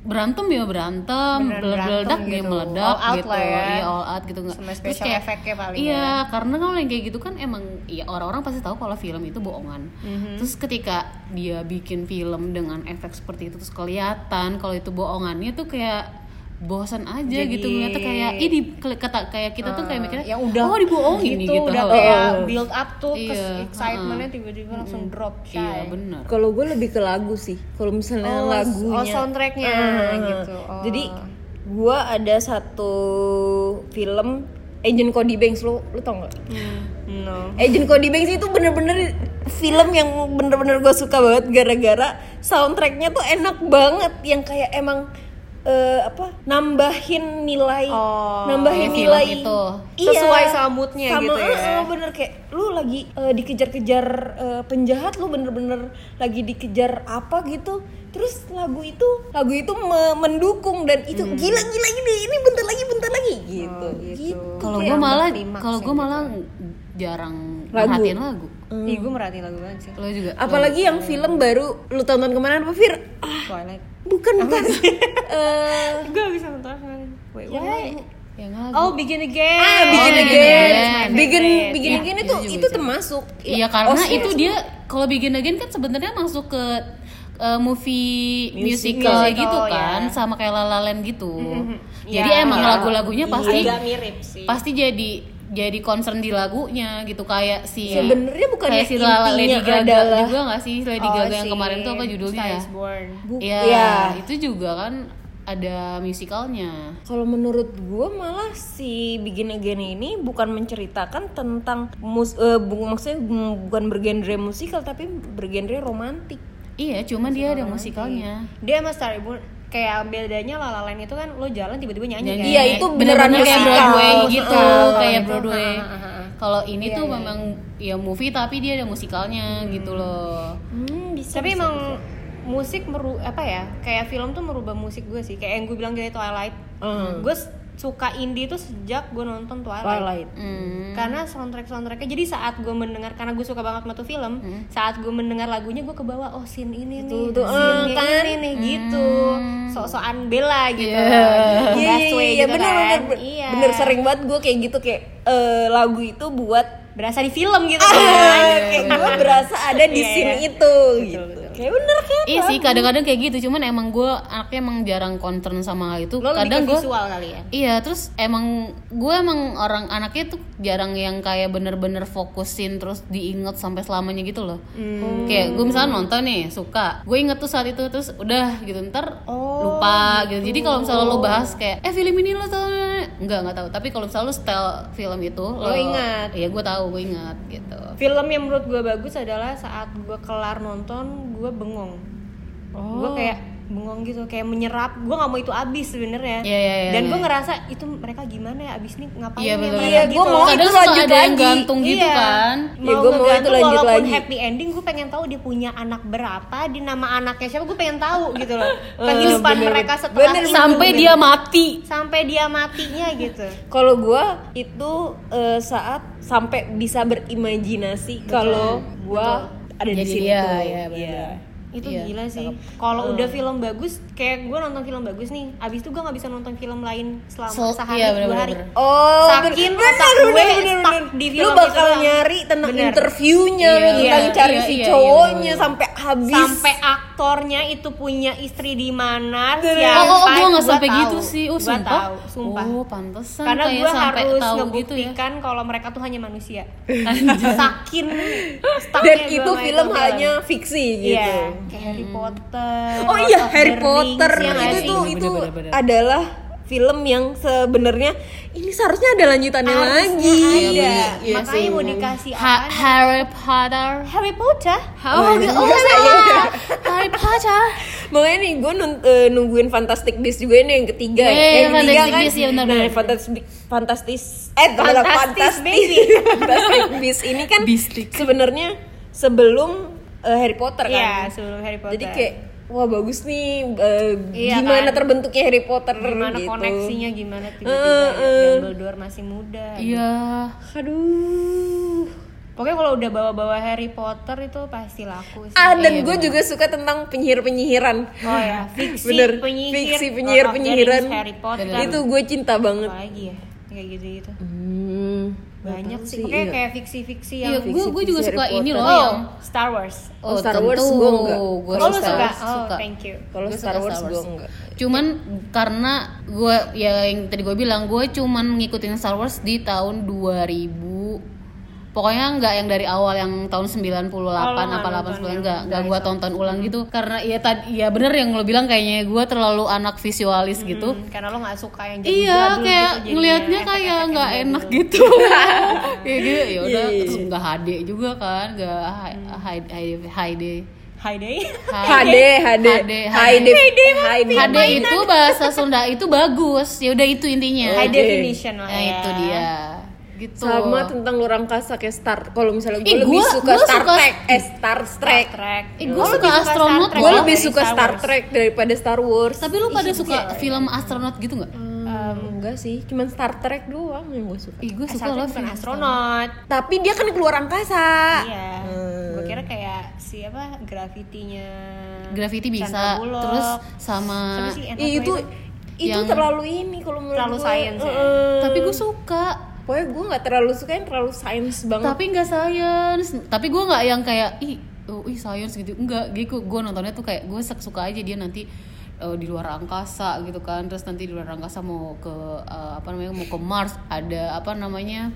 [SPEAKER 1] berantem ya berantem
[SPEAKER 4] Bener
[SPEAKER 1] meledak
[SPEAKER 4] berantem
[SPEAKER 1] ya
[SPEAKER 4] gitu.
[SPEAKER 1] meledak
[SPEAKER 4] All out
[SPEAKER 1] gitu
[SPEAKER 4] lah ya.
[SPEAKER 1] iya all out gitu nggak
[SPEAKER 4] Sama special effect-nya paling
[SPEAKER 1] iya
[SPEAKER 4] ya.
[SPEAKER 1] karena kalau yang kayak gitu kan emang ya orang-orang pasti tahu kalau film itu bohongan
[SPEAKER 4] Mhm.
[SPEAKER 1] terus ketika dia bikin film dengan efek seperti itu terus kelihatan kalau itu bohongannya tuh kayak bosan aja
[SPEAKER 4] Jadi-
[SPEAKER 1] gitu ngeliatnya kayak ini kata kayak kita tuh kayak mikirnya
[SPEAKER 4] ya udah
[SPEAKER 1] oh dibohongin nih
[SPEAKER 4] gitu,
[SPEAKER 1] gitu
[SPEAKER 4] udah
[SPEAKER 1] Oh.
[SPEAKER 4] kayak
[SPEAKER 5] Oh.
[SPEAKER 4] build up tuh kes-
[SPEAKER 1] Iya,
[SPEAKER 4] excitementnya tiba-tiba langsung drop shy.
[SPEAKER 1] iya bener
[SPEAKER 5] Kalau gue lebih ke lagu sih. Kalau misalnya
[SPEAKER 4] Oh,
[SPEAKER 5] lagunya.
[SPEAKER 4] oh, soundtracknya
[SPEAKER 5] Ah,
[SPEAKER 4] gitu. Oh.
[SPEAKER 5] Jadi gue ada satu film Agent Cody Banks lo lo tau gak?
[SPEAKER 4] Hmm. no
[SPEAKER 5] Agent Cody Banks itu bener-bener film yang bener-bener gue suka banget gara-gara soundtracknya tuh enak banget yang kayak emang eh, apa nambahin nilai
[SPEAKER 4] Oh,
[SPEAKER 5] nambahin
[SPEAKER 1] kayak film
[SPEAKER 5] nilai Iya.
[SPEAKER 1] itu.
[SPEAKER 4] Sesuai sama mood-nya
[SPEAKER 5] Sama,
[SPEAKER 4] gitu ya.
[SPEAKER 5] eh, eh, bener kayak lu lagi eh, dikejar-kejar eh, penjahat lu bener-bener lagi dikejar apa gitu terus lagu itu lagu itu me- mendukung dan itu gila gila ini ini bentar lagi bentar lagi Hmm. gitu gitu
[SPEAKER 1] kalau
[SPEAKER 5] Kayak-
[SPEAKER 1] gue malah
[SPEAKER 4] klimaks
[SPEAKER 1] kalau
[SPEAKER 4] ya
[SPEAKER 1] gue
[SPEAKER 4] gitu.
[SPEAKER 1] malah jarang
[SPEAKER 5] Lagu.
[SPEAKER 1] merhatiin lagu
[SPEAKER 4] Ih, gue merhatiin lagu banget sih
[SPEAKER 1] lo juga
[SPEAKER 5] apalagi yang film baru lu tonton kemarin apa Fir Ah,
[SPEAKER 4] Twilight
[SPEAKER 5] bukan *laughs* bukan Eh,
[SPEAKER 4] gue bisa nonton kemarin wait wait
[SPEAKER 1] yang lagu
[SPEAKER 4] oh begin again Oh,
[SPEAKER 5] ah begin
[SPEAKER 1] Begin
[SPEAKER 5] again
[SPEAKER 1] Again.
[SPEAKER 5] begin begin
[SPEAKER 1] Ya,
[SPEAKER 5] again
[SPEAKER 1] itu
[SPEAKER 5] itu
[SPEAKER 1] juga
[SPEAKER 5] itu
[SPEAKER 1] bisa.
[SPEAKER 5] termasuk
[SPEAKER 1] Iya karena
[SPEAKER 5] Oscar.
[SPEAKER 1] itu dia kalau Begin Again kan sebenarnya masuk ke eh, movie musical,
[SPEAKER 4] Musical,
[SPEAKER 1] gitu
[SPEAKER 4] ya.
[SPEAKER 1] kan sama kayak La La Land gitu. Jadi
[SPEAKER 4] Ya,
[SPEAKER 1] emang
[SPEAKER 4] ya.
[SPEAKER 1] lagu-lagunya pasti
[SPEAKER 4] agak mirip sih
[SPEAKER 1] pasti jadi jadi concern di lagunya gitu kayak si
[SPEAKER 5] Sebenarnya bukannya
[SPEAKER 1] kayak si La- Lady
[SPEAKER 5] intinya
[SPEAKER 1] Gaga
[SPEAKER 5] adalah-
[SPEAKER 1] juga nggak sih Lady
[SPEAKER 4] Oh,
[SPEAKER 1] Gaga yang
[SPEAKER 4] si
[SPEAKER 1] kemarin tuh apa judulnya
[SPEAKER 4] Star
[SPEAKER 1] ya?
[SPEAKER 4] is Born.
[SPEAKER 5] Bu-
[SPEAKER 1] Iya,
[SPEAKER 5] ya.
[SPEAKER 1] itu juga kan ada musicalnya.
[SPEAKER 5] Kalau menurut gue malah si Begin Again ini bukan menceritakan tentang mus eh, bu- maksudnya bu- bukan bergenre musikal tapi bergenre romantik.
[SPEAKER 1] Iya, cuman dia ada musikalnya.
[SPEAKER 4] dia sama Star is Born kayak bedanya La La Land itu kan lo jalan tiba-tiba
[SPEAKER 1] Nyanyi.
[SPEAKER 4] nyanyi kan
[SPEAKER 5] Iya itu beneran
[SPEAKER 1] bener-bener kayak
[SPEAKER 5] musikal.
[SPEAKER 1] Broadway gitu,
[SPEAKER 5] Heeh. Iya,
[SPEAKER 1] kayak
[SPEAKER 4] gitu.
[SPEAKER 1] Broadway.
[SPEAKER 4] Ha, ha, ha, ha.
[SPEAKER 1] Kalau ini tuh memang ya movie tapi dia ada musikalnya gitu loh.
[SPEAKER 5] Hmm, bisa.
[SPEAKER 4] tapi emang musik meru apa ya kayak film tuh merubah musik gue sih kayak yang gue bilang dari Twilight
[SPEAKER 5] Hmm.
[SPEAKER 4] gue s- suka indie tuh sejak gue nonton Twilight,
[SPEAKER 5] Twilight.
[SPEAKER 1] Hmm.
[SPEAKER 4] karena soundtrack soundtracknya jadi saat gue mendengar karena gue suka banget sama tuh film
[SPEAKER 5] Hmm.
[SPEAKER 4] saat gue mendengar lagunya gue kebawa oh scene ini nih
[SPEAKER 5] Tuh, tuh,
[SPEAKER 4] scene-nya
[SPEAKER 5] eh, kan? Hmm.
[SPEAKER 4] ini nih gitu sok-sokan bela gitu
[SPEAKER 5] Iya
[SPEAKER 4] Gitu,
[SPEAKER 5] iya
[SPEAKER 4] Best way
[SPEAKER 5] iya
[SPEAKER 4] gitu
[SPEAKER 5] bener
[SPEAKER 4] kan.
[SPEAKER 5] bener
[SPEAKER 4] iya
[SPEAKER 5] bener sering banget gue kayak gitu kayak eh, lagu itu buat
[SPEAKER 4] berasa di film gitu
[SPEAKER 5] Ah.
[SPEAKER 4] kan.
[SPEAKER 5] kayak gue berasa ada di
[SPEAKER 4] Iya,
[SPEAKER 5] scene
[SPEAKER 4] iya.
[SPEAKER 5] itu gitu. Kayak bener kan?
[SPEAKER 1] Iya sih kadang-kadang kayak gitu, cuman emang gue anaknya emang jarang concern sama hal itu.
[SPEAKER 4] lo lebih
[SPEAKER 1] kadang
[SPEAKER 4] ke
[SPEAKER 1] gue
[SPEAKER 4] visual kali ya
[SPEAKER 1] Iya, terus emang gue emang orang anaknya tuh jarang yang kayak bener-bener fokusin terus diinget sampai selamanya gitu loh.
[SPEAKER 5] Hmm.
[SPEAKER 1] Kayak gue misalnya nonton nih suka, gue inget tuh saat itu terus udah gitu ntar
[SPEAKER 5] Oh,
[SPEAKER 1] lupa gitu. Jadi kalau misalnya lo bahas kayak eh film ini lo tau nggak nggak tahu. Tapi kalau misalnya lo setel film itu
[SPEAKER 4] Lo ingat.
[SPEAKER 1] Iya gue tahu gue ingat gitu.
[SPEAKER 4] film yang menurut gue bagus adalah saat gue kelar nonton gue bengong
[SPEAKER 1] Oh.
[SPEAKER 4] gue kayak bengong gitu kayak menyerap gue nggak mau itu abis sebenarnya
[SPEAKER 1] Iya, iya, iya,
[SPEAKER 4] dan gue
[SPEAKER 1] iya.
[SPEAKER 4] ngerasa itu mereka gimana ya abis ini ngapain
[SPEAKER 1] Iya
[SPEAKER 4] ya
[SPEAKER 1] betul.
[SPEAKER 4] mereka
[SPEAKER 5] Iya,
[SPEAKER 4] gitu
[SPEAKER 5] gua mau
[SPEAKER 1] kadang
[SPEAKER 5] itu
[SPEAKER 1] suka
[SPEAKER 5] lanjut
[SPEAKER 1] ada yang
[SPEAKER 5] lagi.
[SPEAKER 1] gantung gitu
[SPEAKER 4] Iya.
[SPEAKER 1] kan.
[SPEAKER 4] mau
[SPEAKER 5] Ya, gua mau
[SPEAKER 4] ngegantung
[SPEAKER 5] itu lanjut
[SPEAKER 4] walaupun
[SPEAKER 5] lagi.
[SPEAKER 4] happy ending gue pengen tahu dia punya anak berapa di nama anaknya siapa gue pengen tahu gitu
[SPEAKER 1] *laughs*
[SPEAKER 4] loh kehidupan
[SPEAKER 5] bener,
[SPEAKER 4] mereka
[SPEAKER 5] bener.
[SPEAKER 4] setelah itu.
[SPEAKER 5] Bener,
[SPEAKER 1] Oh,
[SPEAKER 4] gitu.
[SPEAKER 1] Sampai dia mati.
[SPEAKER 4] sampai dia matinya gitu
[SPEAKER 5] Kalau gua itu eh, saat sampai bisa berimajinasi kalau gua ada di
[SPEAKER 1] Jadi
[SPEAKER 5] situ.
[SPEAKER 1] dia, ya, benar.
[SPEAKER 5] Iya.
[SPEAKER 4] itu
[SPEAKER 1] Iya,
[SPEAKER 4] gila sih kalau udah film bagus kayak gue nonton film bagus nih abis itu gue nggak bisa nonton film lain selama
[SPEAKER 1] So-
[SPEAKER 4] sehari
[SPEAKER 1] iya,
[SPEAKER 4] dua
[SPEAKER 1] bener-bener.
[SPEAKER 4] hari
[SPEAKER 5] Oh,
[SPEAKER 4] Saking
[SPEAKER 5] bener,
[SPEAKER 4] otak
[SPEAKER 5] bener,
[SPEAKER 4] gue
[SPEAKER 5] bener,
[SPEAKER 4] stuck
[SPEAKER 5] bener.
[SPEAKER 4] di
[SPEAKER 5] Lu
[SPEAKER 4] film
[SPEAKER 5] bakal
[SPEAKER 4] itu doang.
[SPEAKER 5] nyari tentang
[SPEAKER 4] Bener.
[SPEAKER 5] interviewnya,
[SPEAKER 1] Iya,
[SPEAKER 5] tentang
[SPEAKER 1] iya,
[SPEAKER 5] cari
[SPEAKER 1] iya,
[SPEAKER 5] si
[SPEAKER 1] iya,
[SPEAKER 5] cowoknya
[SPEAKER 1] iya.
[SPEAKER 5] sampai habis.
[SPEAKER 4] sampai aktornya itu punya istri di mana siapa
[SPEAKER 1] Oh, oh, gue nggak
[SPEAKER 4] gua
[SPEAKER 1] sampai
[SPEAKER 4] tahu.
[SPEAKER 1] gitu sih. Oh,
[SPEAKER 4] Gua
[SPEAKER 1] sumpah.
[SPEAKER 4] tahu, sumpah
[SPEAKER 1] Oh, pantesan
[SPEAKER 4] karena
[SPEAKER 1] kayak
[SPEAKER 4] gue
[SPEAKER 1] sampai
[SPEAKER 4] harus
[SPEAKER 1] tahu gitu ya.
[SPEAKER 4] ngebuktikan kalau mereka tuh hanya manusia saking stucknya
[SPEAKER 5] dan
[SPEAKER 4] gua
[SPEAKER 5] itu kan.
[SPEAKER 4] sama
[SPEAKER 5] film ya hanya fiksi gitu.
[SPEAKER 4] Iya. kayak Harry Potter
[SPEAKER 5] Oh
[SPEAKER 4] Lord
[SPEAKER 5] iya
[SPEAKER 4] of the
[SPEAKER 5] Harry
[SPEAKER 4] Rings,
[SPEAKER 5] Potter
[SPEAKER 4] ya nggak
[SPEAKER 5] itu
[SPEAKER 4] sih?
[SPEAKER 5] tuh
[SPEAKER 1] Bener,
[SPEAKER 5] itu
[SPEAKER 1] bener, bener.
[SPEAKER 5] adalah film yang sebenarnya ini seharusnya ada lanjutannya lagi.
[SPEAKER 4] Iya,
[SPEAKER 1] Iya
[SPEAKER 4] makanya
[SPEAKER 1] sih,
[SPEAKER 4] mau
[SPEAKER 1] bener.
[SPEAKER 4] dikasih
[SPEAKER 1] Ha-
[SPEAKER 4] apa
[SPEAKER 1] Harry Potter
[SPEAKER 4] Harry Potter
[SPEAKER 1] Oh,
[SPEAKER 5] iya.
[SPEAKER 1] oh my god, Harry Potter.
[SPEAKER 5] Makanya nih gue nungguin Fantastic Beasts juga ini yang ketiga. ya.
[SPEAKER 1] Yeay,
[SPEAKER 5] yang ketiga
[SPEAKER 1] Iya, Fantastic Beasts, ya benar,
[SPEAKER 5] Nah,
[SPEAKER 1] benar.
[SPEAKER 5] Fantastic Fantastis eh tunggu lah,
[SPEAKER 4] Fantastic
[SPEAKER 5] Fantastic
[SPEAKER 1] iya.
[SPEAKER 5] *laughs* Fantastic Beasts ini kan
[SPEAKER 1] Beastic.
[SPEAKER 5] sebenarnya sebelum eh, Harry Potter kan.
[SPEAKER 4] *laughs* Iya, sebelum Harry Potter
[SPEAKER 5] Jadi
[SPEAKER 1] Iya.
[SPEAKER 5] kayak wah bagus nih eh,
[SPEAKER 4] Iya
[SPEAKER 5] gimana
[SPEAKER 4] kan?
[SPEAKER 5] terbentuknya Harry Potter
[SPEAKER 1] Iya,
[SPEAKER 4] gimana
[SPEAKER 5] gitu.
[SPEAKER 4] koneksinya gimana
[SPEAKER 5] Eh,
[SPEAKER 4] tiba-tiba
[SPEAKER 5] eh.
[SPEAKER 4] Dumbledore masih muda
[SPEAKER 1] Iya.
[SPEAKER 5] Aduh.
[SPEAKER 4] pokoknya kalau udah bawa-bawa Harry Potter itu pasti laku sih
[SPEAKER 5] Ah
[SPEAKER 1] iya,
[SPEAKER 5] dan gue juga suka tentang penyihir-penyihiran.
[SPEAKER 4] oh ya fiksi
[SPEAKER 5] Bener,
[SPEAKER 4] penyihir
[SPEAKER 5] fiksi
[SPEAKER 4] Lord of the
[SPEAKER 5] penyihir-penyihiran.
[SPEAKER 4] Rings, Harry Potter
[SPEAKER 5] Itu gue cinta banget.
[SPEAKER 4] apa lagi ya kayak gitu gitu
[SPEAKER 5] Hmm.
[SPEAKER 4] banyak sih
[SPEAKER 5] sih,
[SPEAKER 4] pokoknya
[SPEAKER 5] iya.
[SPEAKER 4] kayak fiksi-fiksi yang
[SPEAKER 1] Iya, gue gue juga
[SPEAKER 5] Fiksi
[SPEAKER 1] suka
[SPEAKER 5] Harry
[SPEAKER 1] ini
[SPEAKER 5] Potter.
[SPEAKER 1] loh
[SPEAKER 4] oh
[SPEAKER 1] yang
[SPEAKER 4] Star Wars
[SPEAKER 5] Oh, Star Wars gua enggak.
[SPEAKER 1] Gua
[SPEAKER 4] oh lu
[SPEAKER 1] Star
[SPEAKER 4] suka
[SPEAKER 1] Wars
[SPEAKER 4] oh
[SPEAKER 1] suka.
[SPEAKER 4] thank you
[SPEAKER 5] Kalau
[SPEAKER 1] Gua
[SPEAKER 5] Star
[SPEAKER 1] suka
[SPEAKER 5] Wars,
[SPEAKER 1] Star
[SPEAKER 5] gue
[SPEAKER 1] Wars.
[SPEAKER 5] enggak.
[SPEAKER 1] Cuman karena gue ya yang tadi gue bilang gue cuman ngikutin Star Wars di tahun 2000 pokoknya nggak yang dari awal yang tahun 98
[SPEAKER 4] Oh, lu nggak
[SPEAKER 1] apa
[SPEAKER 4] nonton
[SPEAKER 1] 89
[SPEAKER 4] ya?
[SPEAKER 1] nggak nggak gue tonton ulang gitu karena ya tadi ya bener yang lo bilang kayaknya gue terlalu anak visualis gitu
[SPEAKER 4] Hmm, karena lo nggak suka yang jadi
[SPEAKER 1] Iya, kayak
[SPEAKER 4] jadul gitu, jadinya Iya,
[SPEAKER 1] ngelihatnya
[SPEAKER 4] *laughs*
[SPEAKER 1] kayak
[SPEAKER 4] efek-efek
[SPEAKER 1] nggak
[SPEAKER 4] yang
[SPEAKER 1] enak
[SPEAKER 4] jadul.
[SPEAKER 1] gitu.
[SPEAKER 4] *laughs*
[SPEAKER 1] kayak gitu,
[SPEAKER 4] iya,
[SPEAKER 1] ya udah terus nggak HD juga kan, nggak HD HD
[SPEAKER 4] Hi day *laughs*
[SPEAKER 5] HD, HD,
[SPEAKER 1] HD,
[SPEAKER 5] HD,
[SPEAKER 1] HD, HD itu bahasa Sunda itu bagus. Ya udah itu intinya.
[SPEAKER 4] high
[SPEAKER 5] Oke.
[SPEAKER 4] definition lah
[SPEAKER 1] Nah,
[SPEAKER 4] ya
[SPEAKER 1] itu dia. Gitu.
[SPEAKER 5] Sama tentang lurang kasa kayak Star. Kalau misalnya
[SPEAKER 1] Ih,
[SPEAKER 5] gue lebih
[SPEAKER 1] gua-
[SPEAKER 5] suka
[SPEAKER 1] gua
[SPEAKER 5] Star
[SPEAKER 1] suka-
[SPEAKER 5] Trek, eh Star Trek.
[SPEAKER 4] Trek
[SPEAKER 1] Eh,
[SPEAKER 4] Lo
[SPEAKER 1] gua
[SPEAKER 4] lebih
[SPEAKER 1] suka astronot,
[SPEAKER 4] Star Trek
[SPEAKER 5] Gue
[SPEAKER 1] gua.
[SPEAKER 5] lebih
[SPEAKER 4] dari
[SPEAKER 5] suka Star
[SPEAKER 4] Wars?
[SPEAKER 5] Trek daripada Star Wars.
[SPEAKER 1] Tapi lu pada suka film astronot gitu nggak?
[SPEAKER 5] Hmm, enggak sih, cuman Star Trek doang yang gue suka.
[SPEAKER 1] Ih, gue
[SPEAKER 4] Eh,
[SPEAKER 1] suka
[SPEAKER 4] Star Trek
[SPEAKER 1] loh
[SPEAKER 4] bukan
[SPEAKER 1] film
[SPEAKER 4] astronot
[SPEAKER 5] Tapi dia kan keluar angkasa.
[SPEAKER 4] Iya.
[SPEAKER 5] Hmm.
[SPEAKER 4] Gue kira kayak siapa gravitinya.
[SPEAKER 1] Gravity
[SPEAKER 4] Sandra
[SPEAKER 1] bisa,
[SPEAKER 4] Bullock.
[SPEAKER 1] terus sama
[SPEAKER 4] Siapa sih yang
[SPEAKER 5] Ih, itu
[SPEAKER 4] satu
[SPEAKER 5] itu
[SPEAKER 1] Yang-
[SPEAKER 5] terlalu ini kalau menurut
[SPEAKER 4] Terlalu
[SPEAKER 5] gue.
[SPEAKER 4] science ya?
[SPEAKER 5] Heeh.
[SPEAKER 1] tapi gue suka
[SPEAKER 5] Pokoknya gue gak terlalu suka yang terlalu sains banget
[SPEAKER 1] tapi nggak science tapi gue nggak yang kayak ih oh, ih science gitu enggak gitu gue nontonnya tuh kayak gue suka aja dia nanti eh, di luar angkasa gitu kan terus nanti di luar angkasa mau ke eh, apa namanya mau ke Mars ada apa namanya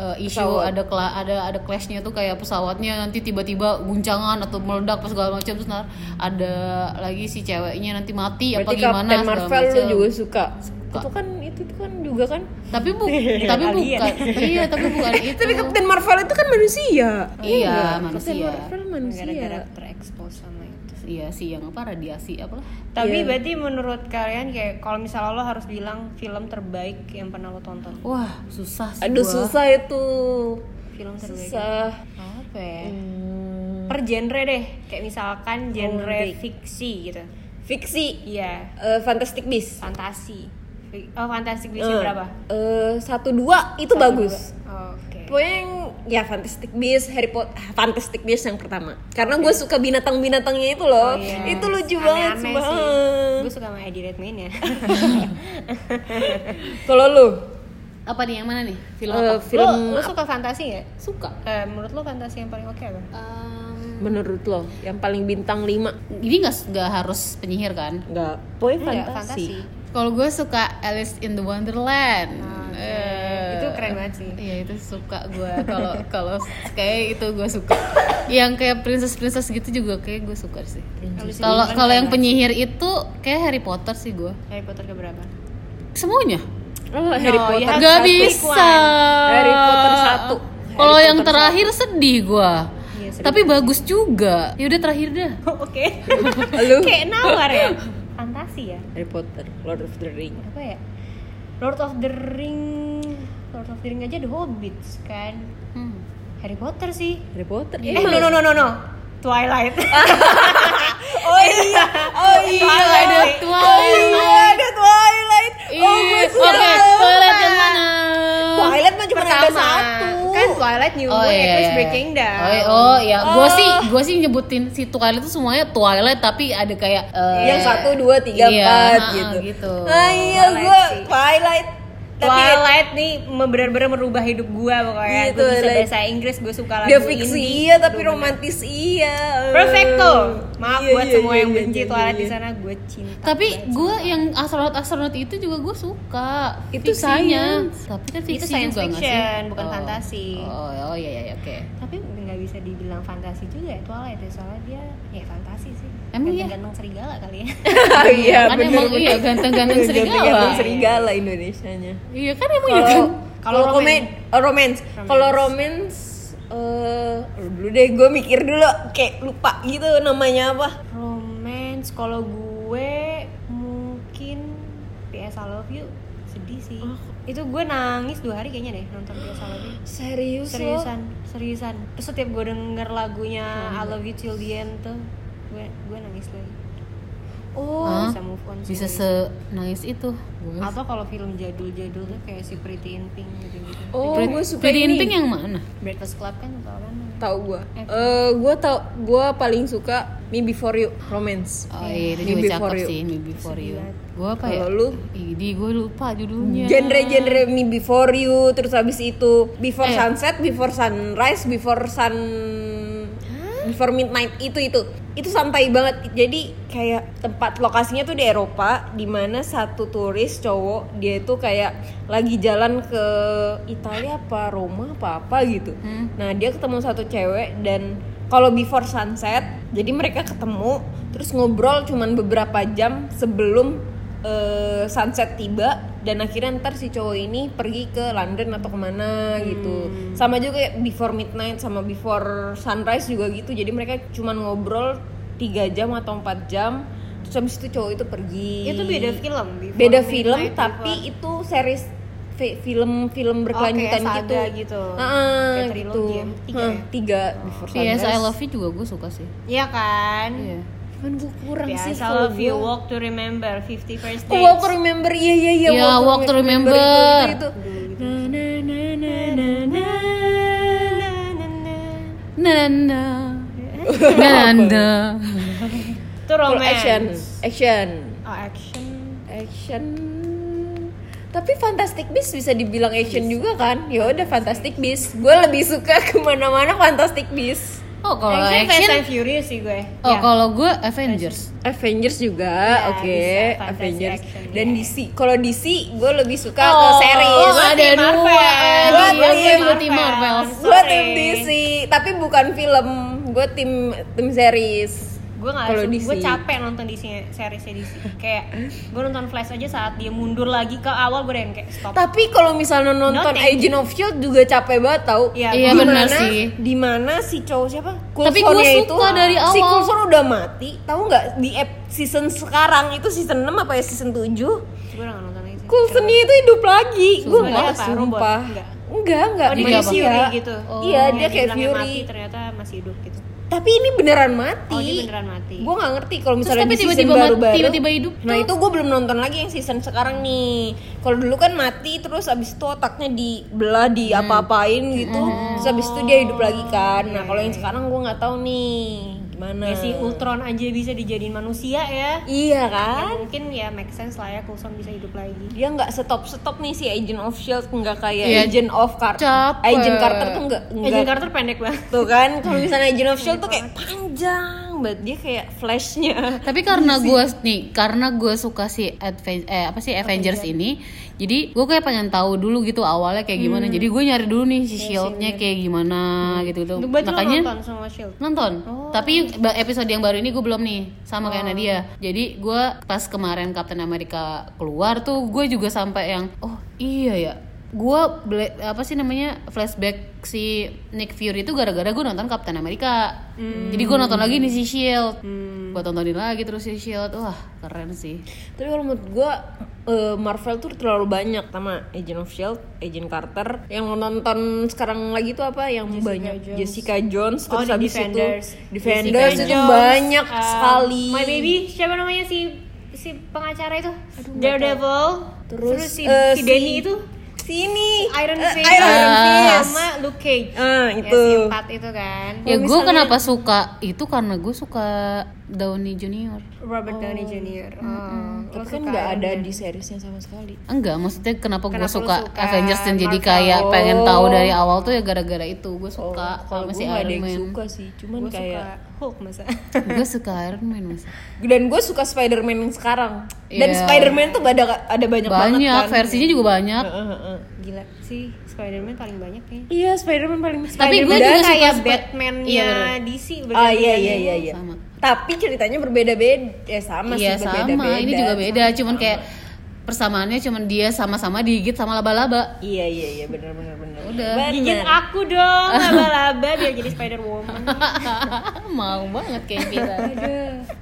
[SPEAKER 1] eh, isu
[SPEAKER 5] Pesawat.
[SPEAKER 1] ada kela- ada ada clashnya tuh kayak pesawatnya nanti tiba-tiba guncangan atau meledak apa segala macam terus nar- ada lagi si ceweknya nanti mati apa
[SPEAKER 5] Berarti
[SPEAKER 1] gimana
[SPEAKER 5] Captain
[SPEAKER 1] segala
[SPEAKER 5] Marvel lu
[SPEAKER 1] macem.
[SPEAKER 5] juga suka. Itu kan itu, itu kan juga kan.
[SPEAKER 1] tapi
[SPEAKER 5] *laughs*
[SPEAKER 1] bu tapi
[SPEAKER 4] Alien.
[SPEAKER 1] bukan iya tapi bukan itu
[SPEAKER 5] Tapi Captain Marvel itu kan manusia.
[SPEAKER 1] iya,
[SPEAKER 5] nggak? Captain
[SPEAKER 1] manusia.
[SPEAKER 5] Marvel
[SPEAKER 4] Gara-gara
[SPEAKER 5] manusia.
[SPEAKER 4] terekspos sama itu.
[SPEAKER 1] Iya sih yang apa radiasi apalah.
[SPEAKER 4] Tapi
[SPEAKER 5] Iya.
[SPEAKER 4] berarti menurut kalian kayak kalau misalnya lo harus bilang film terbaik yang pernah lo tonton.
[SPEAKER 1] Wah, susah sih.
[SPEAKER 5] Aduh
[SPEAKER 1] gua.
[SPEAKER 5] susah itu.
[SPEAKER 4] Film terbaik.
[SPEAKER 5] Susah.
[SPEAKER 4] Apa ya? Per genre deh. Kayak misalkan genre fiksi gitu.
[SPEAKER 5] Fiksi.
[SPEAKER 4] Iya,
[SPEAKER 5] Eh, Fantastic Beasts.
[SPEAKER 4] fantasi. Fi- Oh, Fantastic Beasts yang
[SPEAKER 5] Eh,
[SPEAKER 4] berapa?
[SPEAKER 5] eh, satu dua itu bagus.
[SPEAKER 4] Oh, Oke.
[SPEAKER 5] Pokoknya yang ya Fantastic Beasts, Harry Potter, Fantastic Beasts yang pertama. Karena gue suka binatang-binatangnya itu
[SPEAKER 4] Oh,
[SPEAKER 5] loh. Oh,
[SPEAKER 4] iya.
[SPEAKER 5] Itu lucu banget, banget.
[SPEAKER 4] Gue suka sama Eddie
[SPEAKER 5] *laughs*
[SPEAKER 4] Redmayne ya.
[SPEAKER 5] Kalau lu
[SPEAKER 1] Apa nih yang mana nih? Film
[SPEAKER 5] eh,
[SPEAKER 1] apa?
[SPEAKER 5] film
[SPEAKER 4] lo, lo suka fantasi nggak?
[SPEAKER 1] Suka.
[SPEAKER 4] Eh, menurut lo fantasi yang paling oke apa?
[SPEAKER 5] menurut lo yang paling bintang 5
[SPEAKER 1] Ini nggak nggak harus penyihir kan?
[SPEAKER 5] Enggak, boy
[SPEAKER 4] Nggak,
[SPEAKER 5] fantasi.
[SPEAKER 1] Kalau gue suka Alice in the Wonderland.
[SPEAKER 4] Oke.
[SPEAKER 1] Eh,
[SPEAKER 4] Itu keren banget sih.
[SPEAKER 1] Iya itu suka gue. Kalau *laughs* kalau kayak itu gue suka. Yang kayak princess-princess gitu juga kayak gue suka sih.
[SPEAKER 4] Alice in
[SPEAKER 1] Kalau
[SPEAKER 4] Wonderland
[SPEAKER 1] kalau yang
[SPEAKER 4] keren
[SPEAKER 1] penyihir itu kayak Harry Potter sih gue.
[SPEAKER 4] banget. Harry Potter keberapa?
[SPEAKER 1] Semuanya.
[SPEAKER 5] Oh, Harry
[SPEAKER 4] No,
[SPEAKER 5] Potter.
[SPEAKER 4] ya-
[SPEAKER 1] Gak
[SPEAKER 4] Harry Potter
[SPEAKER 1] bisa.
[SPEAKER 5] Harry Potter satu.
[SPEAKER 1] Kalau
[SPEAKER 5] Harry
[SPEAKER 1] yang
[SPEAKER 5] Potter
[SPEAKER 1] terakhir sedih gua.
[SPEAKER 4] Iya, sedih.
[SPEAKER 1] Tapi bagus juga. Ya udah terakhir dah.
[SPEAKER 4] *laughs* oke.
[SPEAKER 5] Lu?
[SPEAKER 4] *laughs* kayak nawar
[SPEAKER 5] *laughs*
[SPEAKER 4] ya. Fantasi ya?
[SPEAKER 5] Harry Potter, Lord of the Ring.
[SPEAKER 4] Apa ya? Lord of the Ring. Lord of the Ring aja The Hobbits kan.
[SPEAKER 1] Hmm.
[SPEAKER 4] Harry Potter sih.
[SPEAKER 5] Harry Potter.
[SPEAKER 4] Eh, no *laughs* no no no no. *laughs* Twilight.
[SPEAKER 5] Oh iya. Oh iya.
[SPEAKER 1] ada Twilight.
[SPEAKER 5] ada Twilight. Oh, gue
[SPEAKER 1] Ih,
[SPEAKER 5] suka.
[SPEAKER 1] Oke, Twilight yang mana?
[SPEAKER 5] Twilight mah cuma ada
[SPEAKER 4] Pertama.
[SPEAKER 5] satu. iya,
[SPEAKER 4] Kan Twilight New Moon ya, terus Breaking Down.
[SPEAKER 1] Oh, iya, oh ya, gue
[SPEAKER 5] Oh.
[SPEAKER 1] sih gue sih nyebutin si Twilight itu semuanya Twilight tapi ada kayak eh,
[SPEAKER 5] yang satu, dua, tiga,
[SPEAKER 1] iya,
[SPEAKER 5] empat
[SPEAKER 1] ha-ha,
[SPEAKER 5] gitu.
[SPEAKER 1] gitu.
[SPEAKER 5] Nah, iya
[SPEAKER 4] Twilight
[SPEAKER 5] gue
[SPEAKER 4] sih.
[SPEAKER 5] Twilight. Tapi
[SPEAKER 4] Twilight nih me- benar-benar merubah hidup gua pokoknya.
[SPEAKER 5] Iya,
[SPEAKER 4] Gue bisa
[SPEAKER 5] Twilight.
[SPEAKER 4] bahasa Inggris, gue suka lagu
[SPEAKER 5] dia fiksi
[SPEAKER 4] indie.
[SPEAKER 5] iya, tapi romantis iya.
[SPEAKER 4] Perfecto. Maaf
[SPEAKER 5] Iya,
[SPEAKER 4] buat
[SPEAKER 5] iya,
[SPEAKER 4] semua
[SPEAKER 5] iya,
[SPEAKER 4] yang
[SPEAKER 5] iya,
[SPEAKER 4] benci
[SPEAKER 5] iya,
[SPEAKER 4] Twilight
[SPEAKER 5] iya.
[SPEAKER 4] di sana, gue cinta.
[SPEAKER 1] Tapi gue yang astronot astronot itu juga gue suka.
[SPEAKER 5] Itu
[SPEAKER 1] Fiksanya.
[SPEAKER 5] science.
[SPEAKER 1] Tapi kan fiksi
[SPEAKER 4] Itu science
[SPEAKER 1] juga nggak sih?
[SPEAKER 4] fiction, bukan fantasi.
[SPEAKER 1] Oh, oh iya iya oke.
[SPEAKER 4] Tapi nggak bisa dibilang fantasi juga ya Twilight ya soalnya dia ya fantasi sih
[SPEAKER 1] Emang iya?
[SPEAKER 4] ganteng serigala kali ya
[SPEAKER 5] iya
[SPEAKER 1] kan emang iya ganteng-ganteng serigala.
[SPEAKER 5] ganteng serigala Oh. Indonesianya
[SPEAKER 1] Iya kan emang iya kan.
[SPEAKER 5] kalau kalau
[SPEAKER 4] Kalau
[SPEAKER 5] komen eh, romance kalau romance eh lu dulu deh gue mikir dulu kayak lupa gitu namanya apa
[SPEAKER 4] romance kalau gue mungkin PS I Love You sedih sih
[SPEAKER 5] Oh.
[SPEAKER 4] itu gue nangis dua hari kayaknya deh nonton PS I Love You
[SPEAKER 5] serius,
[SPEAKER 4] seriusan seriusan terus setiap gue denger lagunya I Love You Till The End tuh gue gue nangis lagi
[SPEAKER 5] oh
[SPEAKER 1] Hah?
[SPEAKER 4] bisa move on sih.
[SPEAKER 1] Bisa se nangis itu.
[SPEAKER 4] atau kalau film jadul-jadul tuh kayak si Pretty in Pink gitu-gitu
[SPEAKER 5] oh
[SPEAKER 1] Pretty-
[SPEAKER 5] gue suka
[SPEAKER 1] Pretty in
[SPEAKER 5] ini
[SPEAKER 1] Pink yang mana?
[SPEAKER 4] Breakfast Club kan tau kan
[SPEAKER 5] tahu gue eh gue tau gue paling suka me before you romance
[SPEAKER 1] Oh iya,
[SPEAKER 5] Me
[SPEAKER 1] itu juga cakep
[SPEAKER 5] Before You.
[SPEAKER 1] sih, Me Before You. Gue apa ya?
[SPEAKER 5] kalau lu
[SPEAKER 1] Idi, gue lupa judulnya.
[SPEAKER 5] genre-genre me before you terus habis itu before sunset before sunrise before sun before midnight itu itu itu santai banget jadi kayak tempat lokasinya tuh di Eropa di mana satu turis cowok dia itu kayak lagi jalan ke Italia apa Roma apa apa gitu nah dia ketemu satu cewek dan kalau before sunset jadi mereka ketemu terus ngobrol cuman beberapa jam sebelum eh, sunset tiba dan akhirnya ntar si cowok ini pergi ke London atau kemana gitu
[SPEAKER 4] Hmm.
[SPEAKER 5] sama juga kayak before midnight sama before sunrise juga gitu jadi mereka cuman ngobrol tiga jam atau empat jam terus habis itu cowok itu pergi
[SPEAKER 4] itu beda film Before
[SPEAKER 5] Iya. beda
[SPEAKER 4] Midnight,
[SPEAKER 5] film
[SPEAKER 4] Before-
[SPEAKER 5] tapi itu series fi- film-film berkelanjutan
[SPEAKER 4] kayak
[SPEAKER 5] gitu
[SPEAKER 4] saga gitu.
[SPEAKER 5] Ah,
[SPEAKER 4] Kayak
[SPEAKER 5] gitu
[SPEAKER 4] trilogi ya, tiga
[SPEAKER 5] Hah,
[SPEAKER 4] ya?
[SPEAKER 5] tiga before sunrise
[SPEAKER 1] Yes, I Love You juga gue suka sih.
[SPEAKER 4] iya kan
[SPEAKER 1] Iya.
[SPEAKER 5] cuman gue kurang
[SPEAKER 4] PS
[SPEAKER 5] sih
[SPEAKER 4] I
[SPEAKER 5] kalau
[SPEAKER 4] Love You
[SPEAKER 5] gua.
[SPEAKER 4] Walk to Remember 50 First
[SPEAKER 5] Oh,
[SPEAKER 4] Dates
[SPEAKER 5] walk to remember, iya iya iya.
[SPEAKER 1] Iya, walk to remember.
[SPEAKER 5] Itu, itu, *laughs*
[SPEAKER 1] Nana. Nana.
[SPEAKER 4] itu
[SPEAKER 5] itu.
[SPEAKER 4] romance
[SPEAKER 5] Action, action,
[SPEAKER 4] oh action
[SPEAKER 5] action. Tapi Fantastic Beasts bisa dibilang action juga kan? Ya udah Fantastic Beasts. Gue lebih suka *laughs* kemana-mana Fantastic Beasts.
[SPEAKER 1] Oh, kalau
[SPEAKER 4] action, Fast and
[SPEAKER 1] action
[SPEAKER 4] Furious sih gue
[SPEAKER 1] Oh,
[SPEAKER 4] Ya.
[SPEAKER 1] kalau gue Avengers.
[SPEAKER 5] Avengers juga,
[SPEAKER 4] Ya,
[SPEAKER 5] oke.
[SPEAKER 4] bisa, fantasy
[SPEAKER 5] Avengers
[SPEAKER 4] action,
[SPEAKER 5] dan
[SPEAKER 4] ya.
[SPEAKER 5] DC. Kalau DC, gue lebih suka ke
[SPEAKER 4] Oh,
[SPEAKER 5] series.
[SPEAKER 4] gua
[SPEAKER 1] ada
[SPEAKER 4] tim
[SPEAKER 1] dua,
[SPEAKER 4] Marvel.
[SPEAKER 1] gua
[SPEAKER 5] Gua tim
[SPEAKER 4] gua
[SPEAKER 1] tim Marvel.
[SPEAKER 5] Gue tim
[SPEAKER 4] Sorry.
[SPEAKER 5] DC, tapi bukan film. Gue tim tim series.
[SPEAKER 4] gue nggak
[SPEAKER 5] Kalau
[SPEAKER 4] suka-
[SPEAKER 5] DC.
[SPEAKER 4] gue capek nonton di seriesnya DC kayak gue nonton Flash aja saat dia mundur lagi ke awal gue udah yang kayak stop
[SPEAKER 5] Tapi kalau misalnya nonton
[SPEAKER 4] No, thank
[SPEAKER 5] Agent of Shield juga capek banget tau.
[SPEAKER 4] Iya,
[SPEAKER 1] Iya,
[SPEAKER 5] Di
[SPEAKER 1] benar
[SPEAKER 5] mana-
[SPEAKER 1] sih.
[SPEAKER 5] Di mana si cowok siapa?
[SPEAKER 1] Tapi gua
[SPEAKER 5] Coulsonnya
[SPEAKER 1] suka dari
[SPEAKER 5] Si
[SPEAKER 1] awal.
[SPEAKER 5] Coulson udah mati. Tahu nggak di ep- season sekarang itu season 6 apa ya season 7?
[SPEAKER 4] gue udah nggak nonton lagi sih
[SPEAKER 5] Coulson itu hidup lagi. Gue
[SPEAKER 4] Sumpah.
[SPEAKER 5] nggak
[SPEAKER 4] Dia apa?
[SPEAKER 5] sumpah.
[SPEAKER 4] Robot? Nggak.
[SPEAKER 5] Enggak, enggak.
[SPEAKER 4] Oh, dia
[SPEAKER 1] Manusia.
[SPEAKER 4] kayak Fury gitu.
[SPEAKER 5] Iya,
[SPEAKER 4] Yang
[SPEAKER 5] dia kayak
[SPEAKER 4] dibilangnya
[SPEAKER 5] Fury.
[SPEAKER 4] Mati, ternyata masih hidup gitu.
[SPEAKER 5] Tapi ini beneran mati.
[SPEAKER 4] Oh, dia beneran mati.
[SPEAKER 5] Gue nggak ngerti kalau
[SPEAKER 1] Terus
[SPEAKER 5] misalnya
[SPEAKER 1] tapi
[SPEAKER 5] di season
[SPEAKER 1] tiba-tiba mati,
[SPEAKER 5] baru-baru.
[SPEAKER 1] tiba-tiba hidup
[SPEAKER 5] Nah
[SPEAKER 1] tuh.
[SPEAKER 5] itu gue belum nonton lagi yang season sekarang nih. Kalau dulu kan mati terus abis itu otaknya dibelah di apa-apain
[SPEAKER 1] Hmm.
[SPEAKER 5] gitu. Terus abis itu dia hidup lagi kan. Nah kalau yang sekarang gue nggak tahu nih gimana.
[SPEAKER 4] Ya si Ultron aja bisa dijadiin manusia ya.
[SPEAKER 5] Iya
[SPEAKER 4] Ya,
[SPEAKER 5] kan?
[SPEAKER 4] mungkin ya make sense lah ya Coulson bisa hidup lagi.
[SPEAKER 5] Dia nggak stop stop nih si Agent of Shield E nggak kayak
[SPEAKER 1] Iya,
[SPEAKER 5] Agent of Carter.
[SPEAKER 1] capek.
[SPEAKER 5] Agent Carter tuh nggak
[SPEAKER 4] Agent
[SPEAKER 5] nggak
[SPEAKER 4] Carter pendek banget.
[SPEAKER 5] tuh kan kalau misalnya Agent of
[SPEAKER 1] *laughs*
[SPEAKER 5] Shield tuh kayak panjang banget dia kayak flashnya
[SPEAKER 1] Tapi karena gue nih, karena gue suka si Adven- eh, apa sih Avengers ini, jadi gue kayak pengen tahu dulu gitu awalnya kayak gimana. Jadi gue nyari dulu nih si Shieldnya kayak gimana gitu gitu.
[SPEAKER 4] Untuk baju lo
[SPEAKER 1] Makanya
[SPEAKER 4] nonton semua Shield.
[SPEAKER 1] nonton tapi ba- episode yang baru ini gue belum nih sama kayak Nadia jadi gue pas kemarin Captain America keluar tuh gue juga sampai yang oh iya ya gue bela- apa sih namanya flashback si Nick Fury itu gara-gara gue nonton Captain America jadi gue nonton lagi nih si Shield gue tontonin lagi terus si Shield E wah keren sih
[SPEAKER 5] Tapi kalau menurut gue Marvel tuh terlalu banyak sama Agent of Shield, E Agent Carter. Yang mau nonton sekarang lagi tuh apa? Yang banyak Jessica Jones
[SPEAKER 4] Oh,
[SPEAKER 5] terus
[SPEAKER 4] di
[SPEAKER 5] habis
[SPEAKER 4] Defenders.
[SPEAKER 5] itu Defenders Ah, itu banyak
[SPEAKER 4] Um,
[SPEAKER 5] sekali.
[SPEAKER 4] My Baby, siapa namanya si si pengacara itu? Daredevil. Terus, si,
[SPEAKER 5] eh,
[SPEAKER 4] si Danny itu
[SPEAKER 5] sini
[SPEAKER 4] Iron
[SPEAKER 5] Eh,
[SPEAKER 4] Fist
[SPEAKER 5] Iron Fist.
[SPEAKER 4] sama Luke Cage. Ya,
[SPEAKER 5] Ah, itu.
[SPEAKER 4] si empat itu kan.
[SPEAKER 1] ya gue kenapa suka itu karena gue suka Downey Junior
[SPEAKER 4] Robert Downey Jr. Oh, lo
[SPEAKER 5] Tapi kan
[SPEAKER 4] suka
[SPEAKER 5] nggak ada
[SPEAKER 4] Iron Man.
[SPEAKER 5] di seriesnya sama sekali.
[SPEAKER 1] enggak maksudnya kenapa, gue
[SPEAKER 4] Kenapa lu
[SPEAKER 1] suka,
[SPEAKER 4] suka
[SPEAKER 1] Avengers dan jadi
[SPEAKER 4] Marvel?
[SPEAKER 1] kayak pengen tahu dari awal tuh ya gara-gara itu gue suka
[SPEAKER 5] Oh. Kalau
[SPEAKER 1] sama
[SPEAKER 5] gue
[SPEAKER 1] si
[SPEAKER 5] nggak ada
[SPEAKER 1] Iron
[SPEAKER 5] yang
[SPEAKER 1] Man
[SPEAKER 5] suka sih, cuman
[SPEAKER 4] Gua
[SPEAKER 5] kayak
[SPEAKER 4] suka Hulk masa.
[SPEAKER 1] gue suka Iron Man mas
[SPEAKER 5] dan gue suka Spider-Man yang sekarang. *laughs* Dan
[SPEAKER 1] Iya.
[SPEAKER 5] Spider-Man tuh ada ada banyak, banget
[SPEAKER 1] banyak
[SPEAKER 5] kan.
[SPEAKER 1] versinya juga banyak
[SPEAKER 5] Heeh, heeh.
[SPEAKER 4] Gila sih Spider-Man paling banyak ya.
[SPEAKER 5] Iya, Spider-Man paling
[SPEAKER 1] Tapi gue
[SPEAKER 4] Spider-Man
[SPEAKER 1] juga suka
[SPEAKER 4] kayak
[SPEAKER 1] Spi-
[SPEAKER 4] Batman-nya
[SPEAKER 1] Iya, bener.
[SPEAKER 4] DC
[SPEAKER 5] Oh iya iya iya iya.
[SPEAKER 1] Sama.
[SPEAKER 5] Tapi ceritanya berbeda-beda. Eh sama
[SPEAKER 1] iya
[SPEAKER 5] sih
[SPEAKER 1] sama
[SPEAKER 5] berbeda-beda.
[SPEAKER 1] ini juga beda cuman kayak persamaannya cuman dia sama-sama digigit sama laba-laba *laughs*
[SPEAKER 5] Iya iya iya benar benar benar.
[SPEAKER 1] Udah.
[SPEAKER 4] Gigit aku dong laba-laba biar jadi Spider-Woman.
[SPEAKER 1] mau banget kayak gitu. kita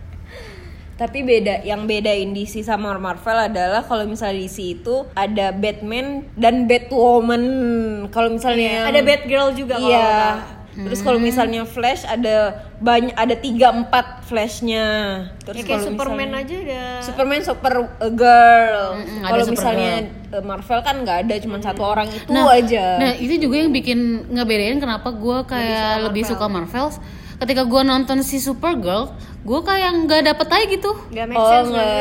[SPEAKER 5] Tapi beda yang bedain DC sama Marvel adalah kalau misalnya DC itu ada Batman dan Batwoman. Kalau
[SPEAKER 1] Iya,
[SPEAKER 5] misalnya
[SPEAKER 4] Ada Batgirl juga kalau
[SPEAKER 5] Iya.
[SPEAKER 4] nggak salah. Ya,
[SPEAKER 5] Terus kalau misalnya Flash ada banyak ada tiga empat Flashnya. Terus
[SPEAKER 4] Ya, kayak
[SPEAKER 5] kalau
[SPEAKER 4] Superman
[SPEAKER 5] misalnya-
[SPEAKER 4] aja udah
[SPEAKER 5] Superman super uh, girl.
[SPEAKER 1] Mm-mm, ada
[SPEAKER 5] Kalau
[SPEAKER 1] Supergirl.
[SPEAKER 5] misalnya uh, Marvel kan nggak ada cuma satu orang itu
[SPEAKER 1] nah,
[SPEAKER 5] aja.
[SPEAKER 1] Nah, itu juga yang bikin ngebedain kenapa gue kayak lebih suka, Marvel. Ketika gue nonton si Supergirl, gue kayak nggak dapet aja gitu.
[SPEAKER 4] nggak make
[SPEAKER 5] oh
[SPEAKER 4] sense
[SPEAKER 5] nggak
[SPEAKER 1] iya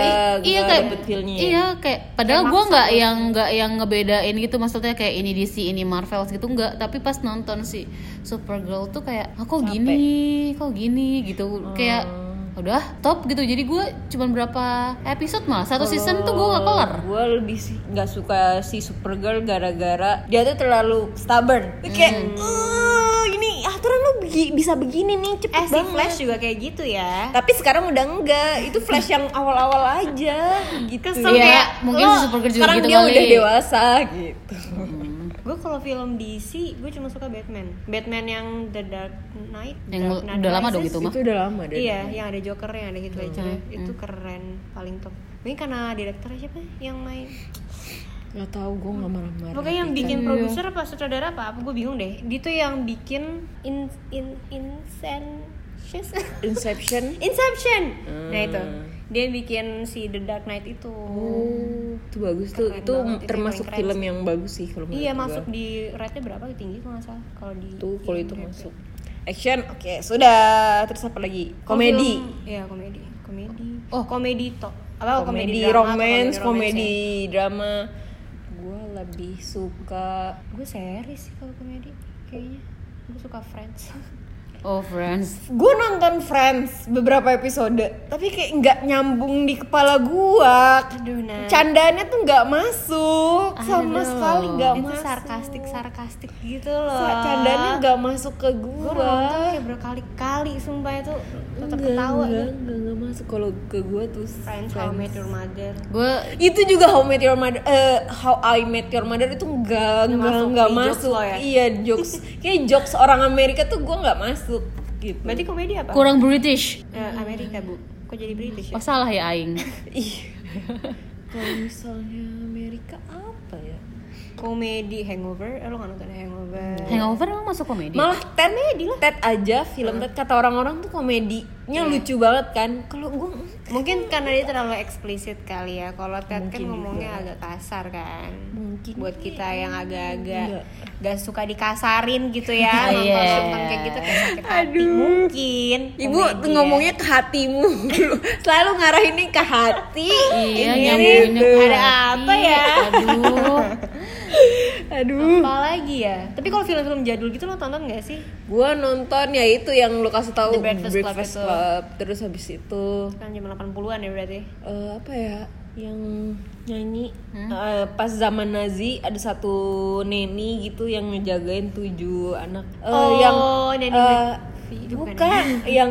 [SPEAKER 5] nggak
[SPEAKER 1] kayak
[SPEAKER 5] dapet feel-nya ya?
[SPEAKER 1] iya kayak padahal gue nggak yang nggak yang ngebedain gitu maksudnya kayak ini DC ini Marvel gitu nggak tapi pas nonton si Supergirl tuh kayak ah, kok gini kok gini gitu kayak
[SPEAKER 5] Hmm.
[SPEAKER 1] udah top gitu jadi gue cuman berapa episode malah satu season tuh gue gak kelar
[SPEAKER 5] Gue lebih sih nggak suka si Supergirl gara-gara dia tuh terlalu stubborn. Dia Kayak "Eh, ini aturan lu begi- bisa begini nih cepet
[SPEAKER 4] Eh si
[SPEAKER 5] banget.
[SPEAKER 4] Flash juga kayak gitu ya.
[SPEAKER 5] Tapi sekarang udah enggak. Itu Flash yang awal-awal aja gitu.
[SPEAKER 4] Kesel
[SPEAKER 1] Iya,
[SPEAKER 4] kayak
[SPEAKER 1] mungkin
[SPEAKER 4] lo-
[SPEAKER 1] si Supergirl juga
[SPEAKER 5] sekarang
[SPEAKER 1] gitu
[SPEAKER 5] dia
[SPEAKER 1] kali.
[SPEAKER 5] udah dewasa gitu.
[SPEAKER 4] Gue oh, kalau film DC, gue cuma suka Batman. Batman yang The Dark Knight.
[SPEAKER 1] Yang
[SPEAKER 4] Dark Knight
[SPEAKER 1] udah lama
[SPEAKER 4] Rises.
[SPEAKER 1] dong itu mah.
[SPEAKER 5] Itu udah lama deh.
[SPEAKER 4] Iya, yang ada Joker, yang ada Heath Ledger.
[SPEAKER 5] Iya.
[SPEAKER 4] Itu keren, paling top. Mungkin karena direkturnya siapa yang main?
[SPEAKER 5] Gak tau, gue gak marah-marah gitu. Iya.
[SPEAKER 4] Pokoknya yang bikin produser apa sutradara apa? Apa gue bingung deh. Dia tuh yang bikin in in Incentions.
[SPEAKER 5] Inception
[SPEAKER 4] *laughs*
[SPEAKER 5] Ah.
[SPEAKER 4] Inception. Nah itu. Dia yang bikin si The Dark Knight itu.
[SPEAKER 5] Oh, itu bagus tuh
[SPEAKER 4] Keren
[SPEAKER 5] itu
[SPEAKER 4] banget, itu
[SPEAKER 5] termasuk
[SPEAKER 4] yang keren
[SPEAKER 5] film yang bagus sih kalau
[SPEAKER 4] Iya
[SPEAKER 5] menurut
[SPEAKER 4] masuk
[SPEAKER 5] gua.
[SPEAKER 4] di rate berapa tinggi kalau nggak salah kalau di
[SPEAKER 5] tuh kalau itu masuk action oke sudah terus apa lagi komedi
[SPEAKER 4] Film- Iya komedi komedi
[SPEAKER 1] Oh.
[SPEAKER 4] oh komedi to apa
[SPEAKER 5] komedi
[SPEAKER 4] drama atau
[SPEAKER 5] romance
[SPEAKER 4] romance
[SPEAKER 5] komedi drama gue lebih suka
[SPEAKER 4] ya? gue series sih kalau komedi kayaknya gue suka Friends
[SPEAKER 1] oh friends
[SPEAKER 5] gue nonton Friends beberapa episode tapi kayak nggak nyambung di kepala
[SPEAKER 4] *laughs*
[SPEAKER 5] gua
[SPEAKER 4] aduh nah
[SPEAKER 5] candaannya tuh nggak masuk
[SPEAKER 1] Aduh.
[SPEAKER 5] sama sekali nggak
[SPEAKER 4] itu
[SPEAKER 5] masuk
[SPEAKER 4] sarkastik sarkastik gitu loh
[SPEAKER 5] candaannya nggak masuk ke
[SPEAKER 4] gue
[SPEAKER 5] gua
[SPEAKER 4] nonton kayak berkali-kali sumpah itu tetap ketawa
[SPEAKER 5] enggak,
[SPEAKER 4] gitu.
[SPEAKER 5] enggak, enggak masuk kalau ke gue tuh
[SPEAKER 4] Friends How I Met Your Mother
[SPEAKER 1] gue
[SPEAKER 5] itu juga how met your mother eh, how I met your mother itu enggak enggak
[SPEAKER 4] masuk di
[SPEAKER 5] enggak
[SPEAKER 4] jokes
[SPEAKER 5] masuk,
[SPEAKER 4] lo ya?
[SPEAKER 5] iya jokes kayak jokes orang Amerika tuh gue nggak masuk gitu
[SPEAKER 4] berarti komedi apa
[SPEAKER 1] kurang British
[SPEAKER 4] Eh, Amerika bu kok jadi British ya?
[SPEAKER 1] oh salah ya
[SPEAKER 5] *laughs*
[SPEAKER 1] Aing
[SPEAKER 5] Ih. kalau misalnya Amerika apa ya
[SPEAKER 4] komedi Hangover eh, lo nggak nonton Hangover
[SPEAKER 1] Hangover emang masuk
[SPEAKER 4] Iya.
[SPEAKER 1] komedi
[SPEAKER 5] malah Ted Ted aja film Ted kata orang-orang tuh komedinya
[SPEAKER 4] Iya.
[SPEAKER 5] lucu banget kan kalau gue
[SPEAKER 4] Mungkin karena dia terlalu eksplisit kali ya. Kalau Ted kan ngomongnya agak kasar kan.
[SPEAKER 5] Mungkin.
[SPEAKER 4] Buat kita yang
[SPEAKER 5] Enggak.
[SPEAKER 4] agak-agak gak suka dikasarin gitu ya.
[SPEAKER 1] Iya.
[SPEAKER 4] Nonton-nonton kayak gitu kayak sakit hati mungkin.
[SPEAKER 5] Ibu
[SPEAKER 4] Komedi ya.
[SPEAKER 5] ngomongnya ke hatimu
[SPEAKER 4] *laughs*
[SPEAKER 5] dulu. Selalu ngarahinnya ke hati.
[SPEAKER 1] iya
[SPEAKER 5] Ini ya, gitu.
[SPEAKER 1] nyambungnya
[SPEAKER 5] tuh.
[SPEAKER 4] Ada apa ya?
[SPEAKER 1] Iya.
[SPEAKER 4] *laughs*
[SPEAKER 1] aduh
[SPEAKER 5] Aduh.
[SPEAKER 4] Apa lagi ya? Tapi kalau film-film jadul gitu lo tonton gak sih?
[SPEAKER 5] Gua nonton ya itu yang lu kasih tahu
[SPEAKER 4] The Breakfast Club itu.
[SPEAKER 5] Club. Terus habis itu
[SPEAKER 4] Kan zaman 80-an ya berarti.
[SPEAKER 5] eh, apa ya yang nyanyi
[SPEAKER 4] Hmm?
[SPEAKER 5] Eh, pas zaman Nazi ada satu neni gitu yang ngejagain tujuh anak Eh,
[SPEAKER 4] Oh,
[SPEAKER 5] yang
[SPEAKER 4] Neni
[SPEAKER 5] eh,
[SPEAKER 4] McPhee. Itu bukan.
[SPEAKER 5] bukan *laughs* yang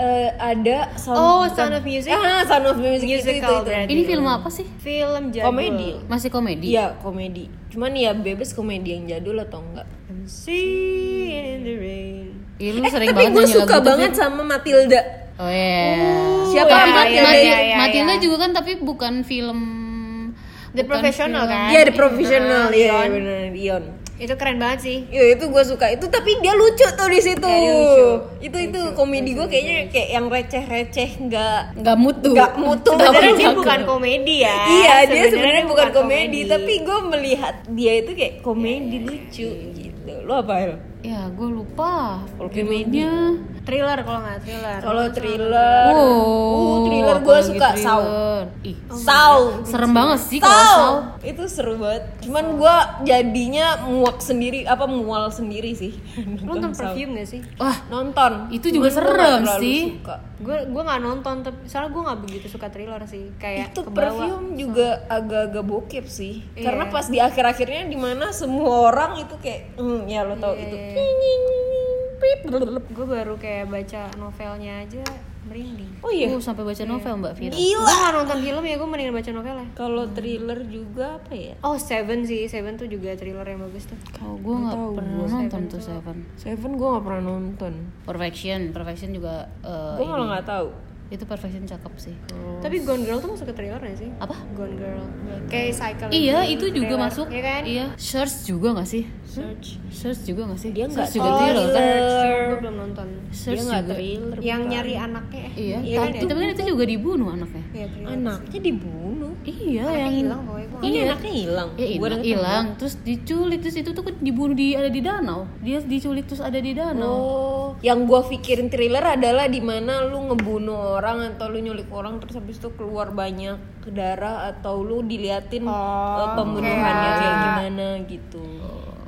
[SPEAKER 5] eh, ada sound,
[SPEAKER 4] Oh, Sound of Music.
[SPEAKER 5] ah sound of music itu, itu,
[SPEAKER 4] Musical
[SPEAKER 5] itu.
[SPEAKER 4] berarti.
[SPEAKER 1] ini film apa sih
[SPEAKER 4] Film jadul.
[SPEAKER 5] komedi
[SPEAKER 1] masih komedi
[SPEAKER 5] iya komedi cuman ya bebas komedi yang jadul atau enggak
[SPEAKER 4] I'm singing in the rain.
[SPEAKER 1] Iya, lu sering banget
[SPEAKER 5] Eh, tapi gue
[SPEAKER 1] nyanyi lagu
[SPEAKER 5] suka
[SPEAKER 1] itu,
[SPEAKER 5] banget sama Matilda
[SPEAKER 1] Fit. Oh iya.
[SPEAKER 5] Siapa
[SPEAKER 1] Bukan,
[SPEAKER 5] yang
[SPEAKER 1] Mat-
[SPEAKER 5] iya,
[SPEAKER 1] Mati-
[SPEAKER 5] iya,
[SPEAKER 4] iya,
[SPEAKER 1] Matilda
[SPEAKER 4] iya.
[SPEAKER 1] juga kan tapi bukan film
[SPEAKER 4] The
[SPEAKER 1] bukan
[SPEAKER 4] Professional
[SPEAKER 1] film.
[SPEAKER 4] kan?
[SPEAKER 5] Iya, The Professional.
[SPEAKER 4] Nah,
[SPEAKER 5] Iya,
[SPEAKER 4] Ion.
[SPEAKER 5] benar, Ion.
[SPEAKER 4] Itu keren banget sih.
[SPEAKER 5] Iya, itu gue suka. Itu tapi dia lucu tuh di situ.
[SPEAKER 4] Iya, dia lucu.
[SPEAKER 5] Itu itu komedi gue kayaknya kayak yang receh-receh nggak
[SPEAKER 1] Nggak mutu.
[SPEAKER 5] nggak mutu.
[SPEAKER 4] Sebenarnya
[SPEAKER 5] Beneran
[SPEAKER 4] dia
[SPEAKER 5] dia-
[SPEAKER 4] bukan komedi ya.
[SPEAKER 5] Iya, dia sebenarnya bukan komedi, Iya. tapi gue melihat dia itu kayak komedi lucu gitu. Lo apa El?
[SPEAKER 1] Ya, gue lupa.
[SPEAKER 5] Kalau
[SPEAKER 1] Judulnya
[SPEAKER 4] thriller kalau nggak thriller
[SPEAKER 5] Kalau thriller, uh, thriller gue
[SPEAKER 1] apalagi
[SPEAKER 5] suka Saw.
[SPEAKER 1] Oh. gitu thriller. Ih,
[SPEAKER 5] Saw.
[SPEAKER 1] serem banget sih kalau
[SPEAKER 5] Saw.
[SPEAKER 1] Saw.
[SPEAKER 5] Itu seru banget. Cuman gue jadinya muak sendiri, apa mual sendiri sih.
[SPEAKER 4] lu nonton
[SPEAKER 5] Saw.
[SPEAKER 4] perfume gak sih
[SPEAKER 1] Wah,
[SPEAKER 5] Nonton.
[SPEAKER 1] Itu juga
[SPEAKER 5] Cuman gua nggak
[SPEAKER 1] serem
[SPEAKER 5] terlalu
[SPEAKER 1] sih.
[SPEAKER 5] suka.
[SPEAKER 4] gue gue nggak nonton tapi soalnya gue nggak begitu suka thriller sih kayak
[SPEAKER 5] itu
[SPEAKER 4] Iya, ke bawah
[SPEAKER 5] perfume juga agak-agak bokep sih
[SPEAKER 4] Iya.
[SPEAKER 5] karena pas di akhir-akhirnya dimana semua orang itu kayak hmm ya lo tau itu Nying, nying, nying, pip, blub.
[SPEAKER 4] gue baru kayak baca novelnya aja merinding
[SPEAKER 5] oh iya
[SPEAKER 1] Uh, sampai baca novel Mbak Vira.
[SPEAKER 4] gue
[SPEAKER 5] gila
[SPEAKER 4] nggak nonton film ya gue mendingan baca novelnya
[SPEAKER 5] kalau thriller juga apa ya
[SPEAKER 4] oh Seven sih Seven tuh juga thriller yang bagus tuh
[SPEAKER 1] Kalau gue Oh, nggak pernah nonton tuh Seven.
[SPEAKER 5] Seven gue gak pernah nonton
[SPEAKER 1] Perfection, Perfection juga eh,
[SPEAKER 5] gue malah nggak tahu Oh.
[SPEAKER 1] itu Perfection cakep sih.
[SPEAKER 4] tapi Gone Girl tuh masuk ke thriller gak sih
[SPEAKER 1] Apa?
[SPEAKER 4] Gone Girl kayak cycle
[SPEAKER 1] Iya, itu juga masuk.
[SPEAKER 4] Iya kan
[SPEAKER 1] Iya. Search juga nggak sih?
[SPEAKER 5] search
[SPEAKER 1] Search juga nggak sih?
[SPEAKER 5] Dia nggak
[SPEAKER 1] Search juga
[SPEAKER 5] tahu.
[SPEAKER 1] thriller kan?
[SPEAKER 4] gue belum nonton
[SPEAKER 1] Search
[SPEAKER 5] dia nggak
[SPEAKER 1] juga.
[SPEAKER 5] thriller
[SPEAKER 4] yang nyari anaknya eh.
[SPEAKER 1] Iya,
[SPEAKER 4] iya kan
[SPEAKER 1] tapi, tapi kan itu juga dibunuh anaknya.
[SPEAKER 4] Iya, thriller.
[SPEAKER 5] anaknya dibunuh
[SPEAKER 1] Iya,
[SPEAKER 4] Anaknya
[SPEAKER 1] yang
[SPEAKER 4] hilang pokoknya gue
[SPEAKER 5] ini
[SPEAKER 1] Iya.
[SPEAKER 5] anaknya hilang
[SPEAKER 1] Ya
[SPEAKER 5] Gua
[SPEAKER 1] hilang,
[SPEAKER 5] denger
[SPEAKER 1] hilang, terus diculik, terus itu tuh kan dibunuh di ada di danau. Dia diculik terus ada di danau.
[SPEAKER 5] Oh, yang gua pikirin thriller adalah di mana lu ngebunuh orang atau lu nyulik orang terus habis itu keluar banyak darah atau lu diliatin eh, pembunuhannya kayak gimana gitu.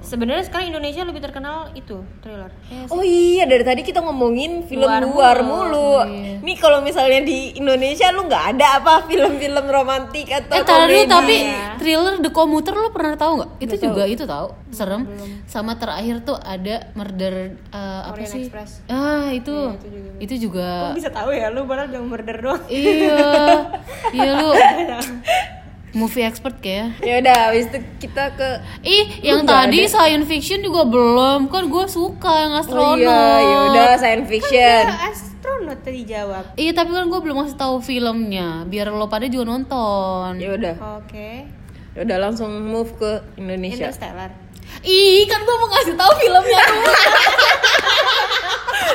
[SPEAKER 4] sebenarnya sekarang Indonesia lebih terkenal itu thriller
[SPEAKER 5] Oh iya dari tadi kita ngomongin film luar, mulu.
[SPEAKER 4] Iya.
[SPEAKER 5] Nih kalau misalnya di Indonesia lu nggak ada apa film-film romantis atau
[SPEAKER 1] Eh taruh dulu,
[SPEAKER 5] komedi?
[SPEAKER 1] tapi
[SPEAKER 4] ya.
[SPEAKER 1] thriller The Commuter lo pernah tahu nggak? Itu juga itu tahu, serem. Sama terakhir tuh ada Murder eh, apa
[SPEAKER 4] Orient
[SPEAKER 1] sih?
[SPEAKER 4] Express. Iya,
[SPEAKER 1] Ah itu, itu juga.
[SPEAKER 4] Kok bisa tahu ya lu padahal udah murder doang
[SPEAKER 1] iya,
[SPEAKER 4] *laughs*
[SPEAKER 1] iya lu movie expert kayak.
[SPEAKER 5] ya udah habis itu kita ke
[SPEAKER 1] Ih, yang tadi science fiction juga belum kan? Gue suka yang
[SPEAKER 5] Oh
[SPEAKER 1] astronot.
[SPEAKER 5] iya, ya udah science
[SPEAKER 4] kan
[SPEAKER 5] fiction.
[SPEAKER 4] astronot tadi jawab
[SPEAKER 1] Iya tapi kan gue belum ngasih tahu filmnya biar lo pada juga nonton.
[SPEAKER 5] Ya udah.
[SPEAKER 4] oke
[SPEAKER 5] Ya udah langsung move ke Indonesia.
[SPEAKER 4] Interstellar *laughs*
[SPEAKER 1] Ih kan gue mau ngasih tahu filmnya *laughs* dulu.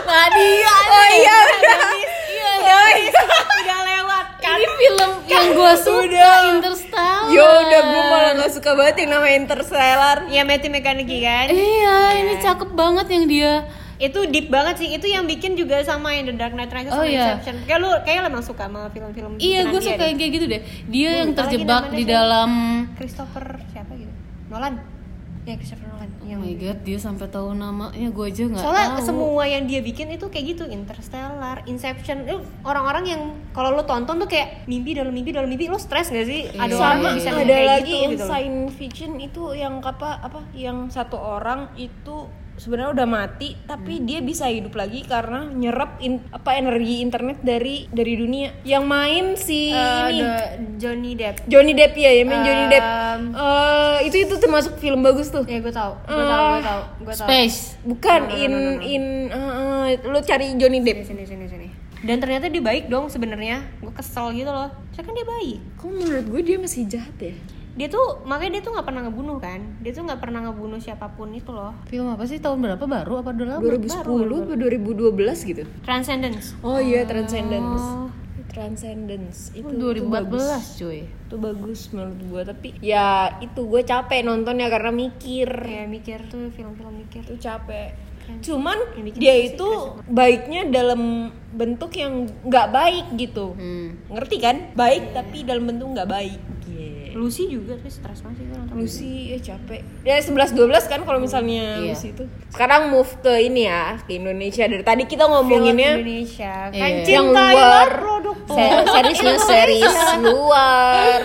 [SPEAKER 1] Nadia.
[SPEAKER 5] Oh iya udah.
[SPEAKER 1] Iya.
[SPEAKER 5] Oh, iya.
[SPEAKER 4] udah lewat kan?
[SPEAKER 1] Ini film yang gue suka
[SPEAKER 5] Udah.
[SPEAKER 1] Interstellar.
[SPEAKER 5] Ya udah gue malah gak suka banget yang namanya Interstellar
[SPEAKER 4] ya Matthew McConaughey kan
[SPEAKER 1] Iya ini cakep banget yang dia.
[SPEAKER 4] itu deep banget sih itu yang bikin juga sama yang The Dark Knight Rises
[SPEAKER 1] Oh,
[SPEAKER 4] sama
[SPEAKER 1] iya.
[SPEAKER 4] Inception kayak lu kayak lu emang suka sama film-film
[SPEAKER 1] Iya
[SPEAKER 4] bikinan
[SPEAKER 1] gue
[SPEAKER 4] dia
[SPEAKER 1] suka
[SPEAKER 4] deh.
[SPEAKER 1] yang kayak gitu deh. Dia yang
[SPEAKER 4] apalagi
[SPEAKER 1] terjebak
[SPEAKER 4] namanya
[SPEAKER 1] di
[SPEAKER 4] siapa?
[SPEAKER 1] dalam.
[SPEAKER 4] Christopher siapa gitu Nolan ya Christopher Nolan
[SPEAKER 1] Oh
[SPEAKER 4] yang
[SPEAKER 1] my god dia sampai tahu namanya gue aja nggak
[SPEAKER 4] soalnya
[SPEAKER 1] tahu.
[SPEAKER 4] semua yang dia bikin itu kayak gitu Interstellar, Inception Lu orang-orang yang kalau lu tonton tuh kayak mimpi dalam mimpi dalam mimpi lu stres gak sih ada
[SPEAKER 1] Iya.
[SPEAKER 4] orang
[SPEAKER 1] Sama,
[SPEAKER 4] yang bisa
[SPEAKER 1] ada
[SPEAKER 5] ada
[SPEAKER 4] kayak
[SPEAKER 5] lagi
[SPEAKER 4] gitu,
[SPEAKER 5] yang
[SPEAKER 4] gitu loh.
[SPEAKER 5] science fiction itu yang apa apa yang satu orang itu sebenarnya udah mati tapi
[SPEAKER 4] Hmm.
[SPEAKER 5] dia bisa hidup lagi karena nyerap in- apa energi internet dari dari dunia yang main
[SPEAKER 4] Eh,
[SPEAKER 5] si ini
[SPEAKER 4] The Johnny Depp
[SPEAKER 5] Johnny Depp ya yang main Johnny Depp
[SPEAKER 4] Um,
[SPEAKER 5] Eh, itu itu termasuk film bagus tuh
[SPEAKER 4] ya gue tau gue tau gue tau gue tau
[SPEAKER 1] Space.
[SPEAKER 5] bukan in in eh, lo cari Johnny Depp
[SPEAKER 4] sini sini sini dan ternyata dia baik dong sebenarnya gue kesel gitu loh soalnya kan dia baik
[SPEAKER 5] kok menurut gue dia masih jahat ya
[SPEAKER 4] dia tuh makanya dia tuh nggak pernah ngebunuh kan dia tuh nggak pernah ngebunuh siapapun itu loh
[SPEAKER 1] Film apa sih tahun berapa baru apa udah lama?
[SPEAKER 5] 2010 atau 2012 gitu
[SPEAKER 4] transcendence
[SPEAKER 5] Oh iya transcendence. Transcendence itu
[SPEAKER 1] 2014 cuy.
[SPEAKER 5] itu bagus menurut gue tapi ya itu gue capek nontonnya karena mikir
[SPEAKER 4] kayak Iya, mikir tuh film-film mikir
[SPEAKER 5] Iya, itu capek cuman
[SPEAKER 4] Yang bikin
[SPEAKER 5] dia
[SPEAKER 4] pusing,
[SPEAKER 5] itu baiknya dalam bentuk yang nggak baik gitu
[SPEAKER 1] Hmm.
[SPEAKER 5] ngerti kan baik tapi dalam bentuk nggak baik Iya.
[SPEAKER 4] Lucy juga tapi stres banget sih gue nonton
[SPEAKER 5] Lucy ya capek ya 11 12 kan kalau misalnya
[SPEAKER 1] Iya.
[SPEAKER 5] Lucy itu sekarang move ke ini ya ke Indonesia dari tadi kita ngomonginnya
[SPEAKER 4] Indonesia
[SPEAKER 1] Iya.
[SPEAKER 4] kan
[SPEAKER 5] yang
[SPEAKER 4] luar
[SPEAKER 5] luar
[SPEAKER 4] produk
[SPEAKER 5] se- seriesnya
[SPEAKER 4] *laughs*
[SPEAKER 5] series luar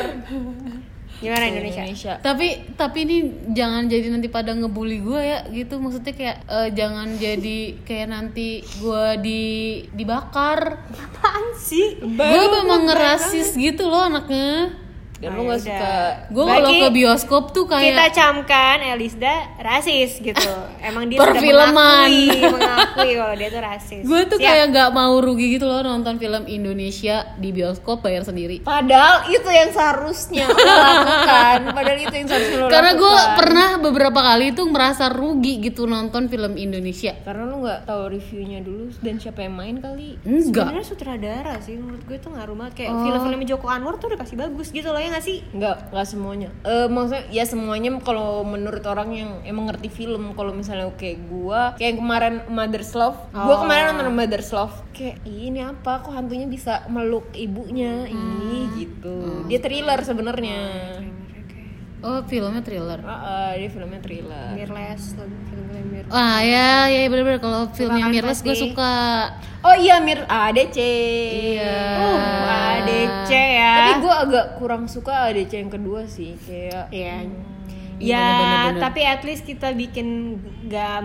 [SPEAKER 4] gimana Indonesia
[SPEAKER 5] Indonesia
[SPEAKER 1] tapi tapi ini jangan jadi nanti pada ngebully gue ya gitu maksudnya kayak eh, jangan jadi kayak nanti gue di dibakar
[SPEAKER 4] apaan sih
[SPEAKER 1] gue memang ngerasis gitu loh anaknya
[SPEAKER 5] dan lu gak suka
[SPEAKER 1] gue kalau
[SPEAKER 4] Berarti
[SPEAKER 1] ke bioskop tuh
[SPEAKER 4] kita
[SPEAKER 1] kayak
[SPEAKER 4] camkan Elisda rasis gitu emang
[SPEAKER 5] *laughs*
[SPEAKER 4] dia
[SPEAKER 1] Perfilman.
[SPEAKER 4] sudah mengakui mengakui kalau dia tuh rasis
[SPEAKER 1] gue tuh
[SPEAKER 4] Siap.
[SPEAKER 1] kayak nggak mau rugi gitu loh nonton film Indonesia di bioskop bayar sendiri
[SPEAKER 5] Padahal itu yang seharusnya lo lakukan. Padahal itu yang seharusnya lo
[SPEAKER 1] karena gue
[SPEAKER 5] lakukan.
[SPEAKER 1] pernah beberapa kali tuh merasa rugi gitu nonton film Indonesia
[SPEAKER 5] karena lu nggak tahu reviewnya dulu dan siapa yang main kali.
[SPEAKER 1] enggak Oh.
[SPEAKER 4] sebenarnya sutradara sih menurut gue tuh ngaruh banget kayak film-film Joko Anwar tuh udah pasti bagus gitu loh ya ya nggak sih
[SPEAKER 5] Enggak, enggak semuanya. Eh maksudnya ya semuanya kalau menurut orang yang emang ngerti film kalau misalnya kayak gua kayak yang kemarin Mother's Love. Gua kemarin nonton Mother's Love. Kayak "Ih, ini apa kok hantunya bisa meluk ibunya? Ih gitu. Dia thriller sebenarnya.
[SPEAKER 1] Oh, filmnya thriller.
[SPEAKER 5] Heeh, dia filmnya
[SPEAKER 1] Iya.
[SPEAKER 5] thriller.
[SPEAKER 4] Mirless film-film Mirless
[SPEAKER 1] Wah, ya, ya bener-bener kalau filmnya
[SPEAKER 4] kan
[SPEAKER 1] Mirrors gue
[SPEAKER 4] pasti?
[SPEAKER 1] suka.
[SPEAKER 5] Oh iya Mir ADC.
[SPEAKER 1] Iya.
[SPEAKER 4] uh, ADC ya
[SPEAKER 5] Tapi gua agak kurang suka ADC yang kedua sih kayak
[SPEAKER 4] Iya.
[SPEAKER 1] Iya,
[SPEAKER 4] Ya,
[SPEAKER 1] bener-bener.
[SPEAKER 4] tapi at least kita bikin gak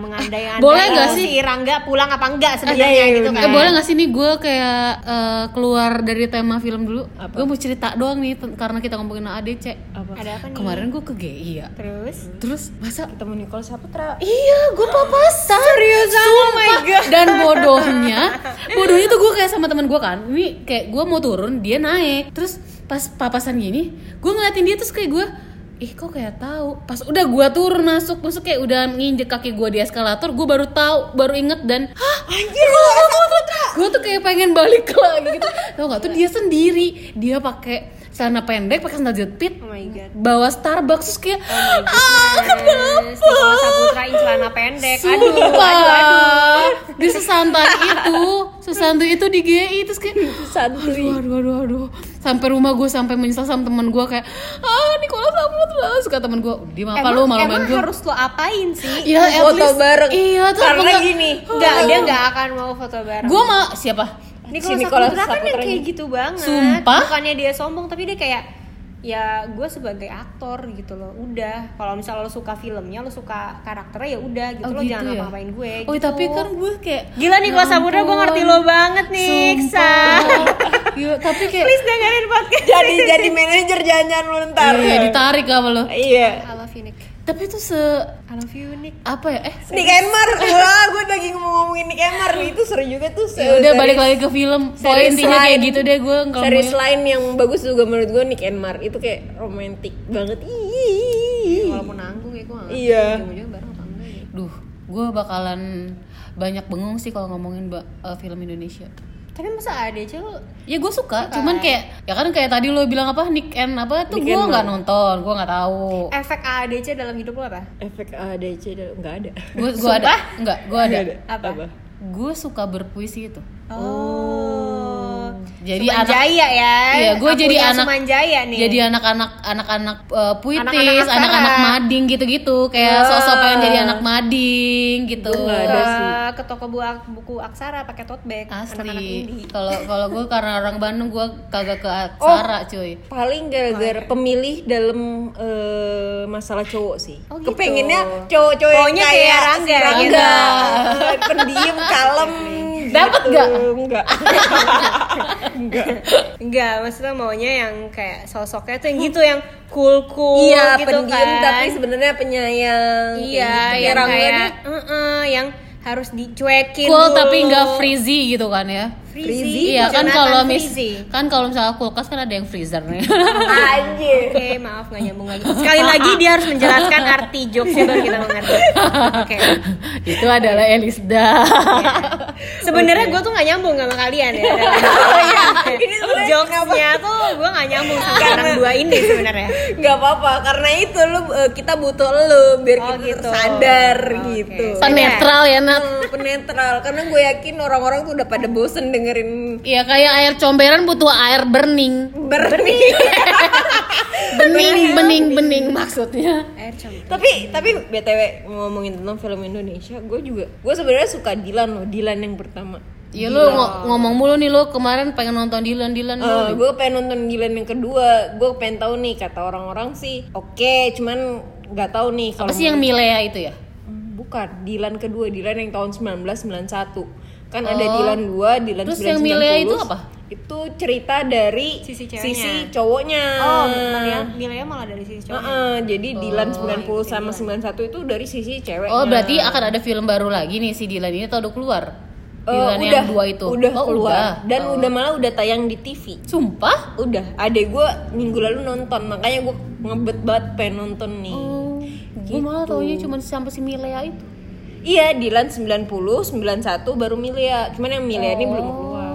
[SPEAKER 1] *laughs*
[SPEAKER 4] mengandai-andai
[SPEAKER 1] Boleh nggak
[SPEAKER 4] kalau
[SPEAKER 1] sih?
[SPEAKER 4] si Rangga pulang apa enggak sebenarnya gitu kan.
[SPEAKER 1] Eh, boleh gak sih nih gue kayak eh, keluar dari tema film dulu? Gue mau cerita doang nih ten- karena kita ngomongin ADC.
[SPEAKER 4] Ada apa nih?
[SPEAKER 1] Kemarin gue ke GI ya.
[SPEAKER 4] Terus
[SPEAKER 1] Terus masa
[SPEAKER 5] ketemu Nicole Saputra.
[SPEAKER 1] Iya, gue papasan. Seriusan? Oh my god. Dan bodohnya, bodohnya tuh gue kayak sama teman gue kan. Ini kayak gue mau turun, dia naik. Terus pas papasan gini, gue ngeliatin dia terus kayak gue Ih kok kayak tahu. Pas udah gua turun masuk, masuk kayak udah nginjek kaki gua di eskalator, gue baru tahu, baru inget dan hah anjir Gue tuh kayak pengen balik *laughs* lagi gitu. Tau gak tuh dia sendiri, dia pakai celana pendek, pakai sandal jepit,
[SPEAKER 4] Oh my god.
[SPEAKER 1] bawa Starbucks terus kayak
[SPEAKER 4] Ah, kenapa? Nicola
[SPEAKER 1] *laughs*
[SPEAKER 4] Saputra yang celana pendek. Aduh, aduh,
[SPEAKER 1] Sumpah.
[SPEAKER 4] aduh.
[SPEAKER 1] Dia sesantai itu, sesantai itu di GI terus kayak
[SPEAKER 5] Santuy.
[SPEAKER 1] aduh aduh aduh sampai rumah gue sampai menyesal sama teman gue kayak ah Nicola Saputra suka teman gue dia apa lu malam
[SPEAKER 4] emang
[SPEAKER 1] main gue
[SPEAKER 4] harus lo apain sih?
[SPEAKER 1] Iya, at
[SPEAKER 5] Foto
[SPEAKER 1] least-
[SPEAKER 5] bareng.
[SPEAKER 1] Iya, tuh
[SPEAKER 5] Karena
[SPEAKER 1] apa-
[SPEAKER 5] gini,
[SPEAKER 4] Enggak, dia enggak akan mau foto bareng.
[SPEAKER 1] Gue mau siapa?
[SPEAKER 4] Ini
[SPEAKER 5] Si
[SPEAKER 4] kalau Saputra
[SPEAKER 5] Nicola
[SPEAKER 4] kan yang
[SPEAKER 5] Saputra
[SPEAKER 4] kayak
[SPEAKER 5] ini.
[SPEAKER 4] gitu banget.
[SPEAKER 1] Sumpah.
[SPEAKER 4] Bukannya dia sombong, tapi dia kayak ya gue sebagai aktor gitu loh udah kalau misalnya lo suka filmnya lo suka karakternya ya udah gitu
[SPEAKER 1] Oh,
[SPEAKER 4] lo
[SPEAKER 1] gitu
[SPEAKER 4] jangan
[SPEAKER 1] ya?
[SPEAKER 4] apa-apain gue
[SPEAKER 1] Oh
[SPEAKER 4] gitu.
[SPEAKER 1] tapi kan gue kayak "Ya
[SPEAKER 4] gila nih kalau Saputra gue ngerti lo banget nih Sa
[SPEAKER 1] Sumpah. Iya, tapi kayak
[SPEAKER 4] please dengerin podcast
[SPEAKER 5] jadi jadi manajer jangan lu ntar.
[SPEAKER 1] Iya, ditarik apa lo?
[SPEAKER 5] Iya.
[SPEAKER 4] I love you Nick
[SPEAKER 1] Tapi itu se
[SPEAKER 4] I love you Nick
[SPEAKER 1] apa ya? Eh,
[SPEAKER 5] Nick Emmer, wah gue lagi ngomongin Nick Emmer nih, itu seru juga tuh se-
[SPEAKER 1] ya udah
[SPEAKER 5] series-
[SPEAKER 1] balik lagi ke film. Poin
[SPEAKER 5] series
[SPEAKER 1] intinya kayak
[SPEAKER 5] lain.
[SPEAKER 1] gitu deh gue kalau
[SPEAKER 5] Series
[SPEAKER 4] ya.
[SPEAKER 5] lain yang bagus juga menurut gue Nick Emmer Itu kayak romantis banget Ih.
[SPEAKER 4] walaupun nanggung ya gue
[SPEAKER 5] Iya.
[SPEAKER 4] ujung bareng apa enggak ya
[SPEAKER 1] Duh, gue bakalan banyak bengong sih kalau ngomongin ba- eh, film Indonesia.
[SPEAKER 4] tapi masa ADC lo
[SPEAKER 1] Ya gue suka, cuman kayak ya kan kayak tadi lo bilang apa Nick and apa tuh gue nggak nonton, gue nggak tahu.
[SPEAKER 4] efek ADC dalam hidup lo apa?
[SPEAKER 5] Efek ADC dan- nggak ada
[SPEAKER 1] Gue gue ada, nggak gue ada.
[SPEAKER 5] Nggak
[SPEAKER 4] Apa?
[SPEAKER 1] Gue suka berpuisi itu.
[SPEAKER 4] Oh.
[SPEAKER 1] Jadi anak-
[SPEAKER 4] Sumanjaya ya.
[SPEAKER 1] Iya, gue
[SPEAKER 4] Aku
[SPEAKER 1] jadi
[SPEAKER 4] yang
[SPEAKER 1] anak
[SPEAKER 4] Sumanjaya nih.
[SPEAKER 1] Jadi anak-anak anak-anak eh, puitis,
[SPEAKER 4] Anak-anak
[SPEAKER 1] anak-anak
[SPEAKER 4] Sarah.
[SPEAKER 1] mading gitu-gitu, kayak sosok pengen jadi anak mading gitu.
[SPEAKER 5] nggak
[SPEAKER 4] ke,
[SPEAKER 5] ada sih.
[SPEAKER 4] ke toko bu- buku aksara pakai tote bag anak-anak
[SPEAKER 1] Asli.
[SPEAKER 4] indie.
[SPEAKER 1] Kalau kalau gue karena orang Bandung gue kagak ke Aksara cuy.
[SPEAKER 5] Paling gara-gara pemilih dalam eh, masalah cowok sih
[SPEAKER 4] Oh, gitu.
[SPEAKER 5] Kepengennya cowok-cowok yang
[SPEAKER 4] Maunya kayak Rangga,
[SPEAKER 5] Rangga.
[SPEAKER 4] gitu.
[SPEAKER 5] Eh, *laughs* Pendiam, kalem
[SPEAKER 1] Dapat
[SPEAKER 5] gitu.
[SPEAKER 1] nggak?
[SPEAKER 5] Nggak
[SPEAKER 4] Enggak, maksudnya maunya yang kayak sosoknya tuh yang gitu yang cool cool
[SPEAKER 5] Iya
[SPEAKER 4] gitu
[SPEAKER 5] pendiam
[SPEAKER 4] kan.
[SPEAKER 5] tapi sebenarnya penyayang
[SPEAKER 4] iya,
[SPEAKER 5] Kayak gitu.
[SPEAKER 4] yang
[SPEAKER 5] Rangga
[SPEAKER 4] kayak
[SPEAKER 5] nih
[SPEAKER 4] "Eh-eh," yang harus dicuekin
[SPEAKER 1] Cool
[SPEAKER 4] dulu.
[SPEAKER 1] tapi nggak frizzy gitu kan ya?
[SPEAKER 4] Frizzy.
[SPEAKER 1] Iya kan
[SPEAKER 4] Jonathan
[SPEAKER 1] kalau mis
[SPEAKER 4] Frizzy.
[SPEAKER 1] kan kalau misalnya kulkas kan ada yang freezer nih. *laughs*
[SPEAKER 5] Anjir
[SPEAKER 4] Oke, maaf nggak nyambung lagi. Sekali lagi dia harus menjelaskan arti jokesnya baru kita mengerti. Oke.
[SPEAKER 1] Itu adalah Elisda.
[SPEAKER 4] Sebenarnya gue tuh nggak nyambung sama kalian ya. Jokesnya tuh gue nggak nyambung sama orang dua ini sebenarnya.
[SPEAKER 5] nggak apa-apa karena itu lu eh, kita butuh lu biar
[SPEAKER 4] Oh,
[SPEAKER 5] kita
[SPEAKER 4] gitu.
[SPEAKER 5] sadar
[SPEAKER 4] Oke.
[SPEAKER 5] gitu
[SPEAKER 1] Kan netral ya Nat.
[SPEAKER 5] Eh, penetral karena gue yakin orang-orang tuh udah pada bosen dengerin
[SPEAKER 1] Iya kayak air comberan butuh air burning.
[SPEAKER 5] berni
[SPEAKER 1] Bening, bening, bening maksudnya.
[SPEAKER 4] Air campur.
[SPEAKER 5] tapi tapi btw ngomongin tentang film Indonesia gue juga gue sebenarnya suka Dilan loh Dilan yang pertama
[SPEAKER 1] Iya lu ngo- ngomong mulu nih lu kemarin pengen nonton Dylan Dylan lu.
[SPEAKER 5] Eh, gue pengen nonton Dilan yang kedua gue pengen tahu nih kata orang-orang sih oke cuman nggak tahu nih
[SPEAKER 1] Apa
[SPEAKER 5] kalau
[SPEAKER 1] sih yang Milea itu ya?
[SPEAKER 5] bukan Dilan kedua Dilan yang tahun 1991 kan ada Dilan 2 Dilan
[SPEAKER 1] Oh. Terus yang Milea itu apa?
[SPEAKER 5] itu cerita dari
[SPEAKER 4] Sisi ceweknya.
[SPEAKER 5] sisi cowoknya
[SPEAKER 4] Oh,
[SPEAKER 1] ya,
[SPEAKER 4] Milea, Milea malah dari sisi cowok.
[SPEAKER 5] Heeh, jadi Dilan 90 sama 91 itu dari sisi cewek
[SPEAKER 1] iya, Oh berarti akan ada film baru lagi nih si Dylan ini atau udah keluar? Dylan yang dua itu.
[SPEAKER 5] Eh, udah
[SPEAKER 1] oh,
[SPEAKER 5] keluar
[SPEAKER 1] udah.
[SPEAKER 5] dan udah malah udah tayang di TV
[SPEAKER 1] Sumpah?
[SPEAKER 5] udah adek gue minggu lalu nonton makanya gue ngebet banget pengen nonton nih Gitu.
[SPEAKER 1] Gue malah taunya cuma sampai si Milea itu.
[SPEAKER 5] iya Dilan 90 91 baru Milea cuman Oh.
[SPEAKER 4] ya.
[SPEAKER 5] yang Milea ini belum keluar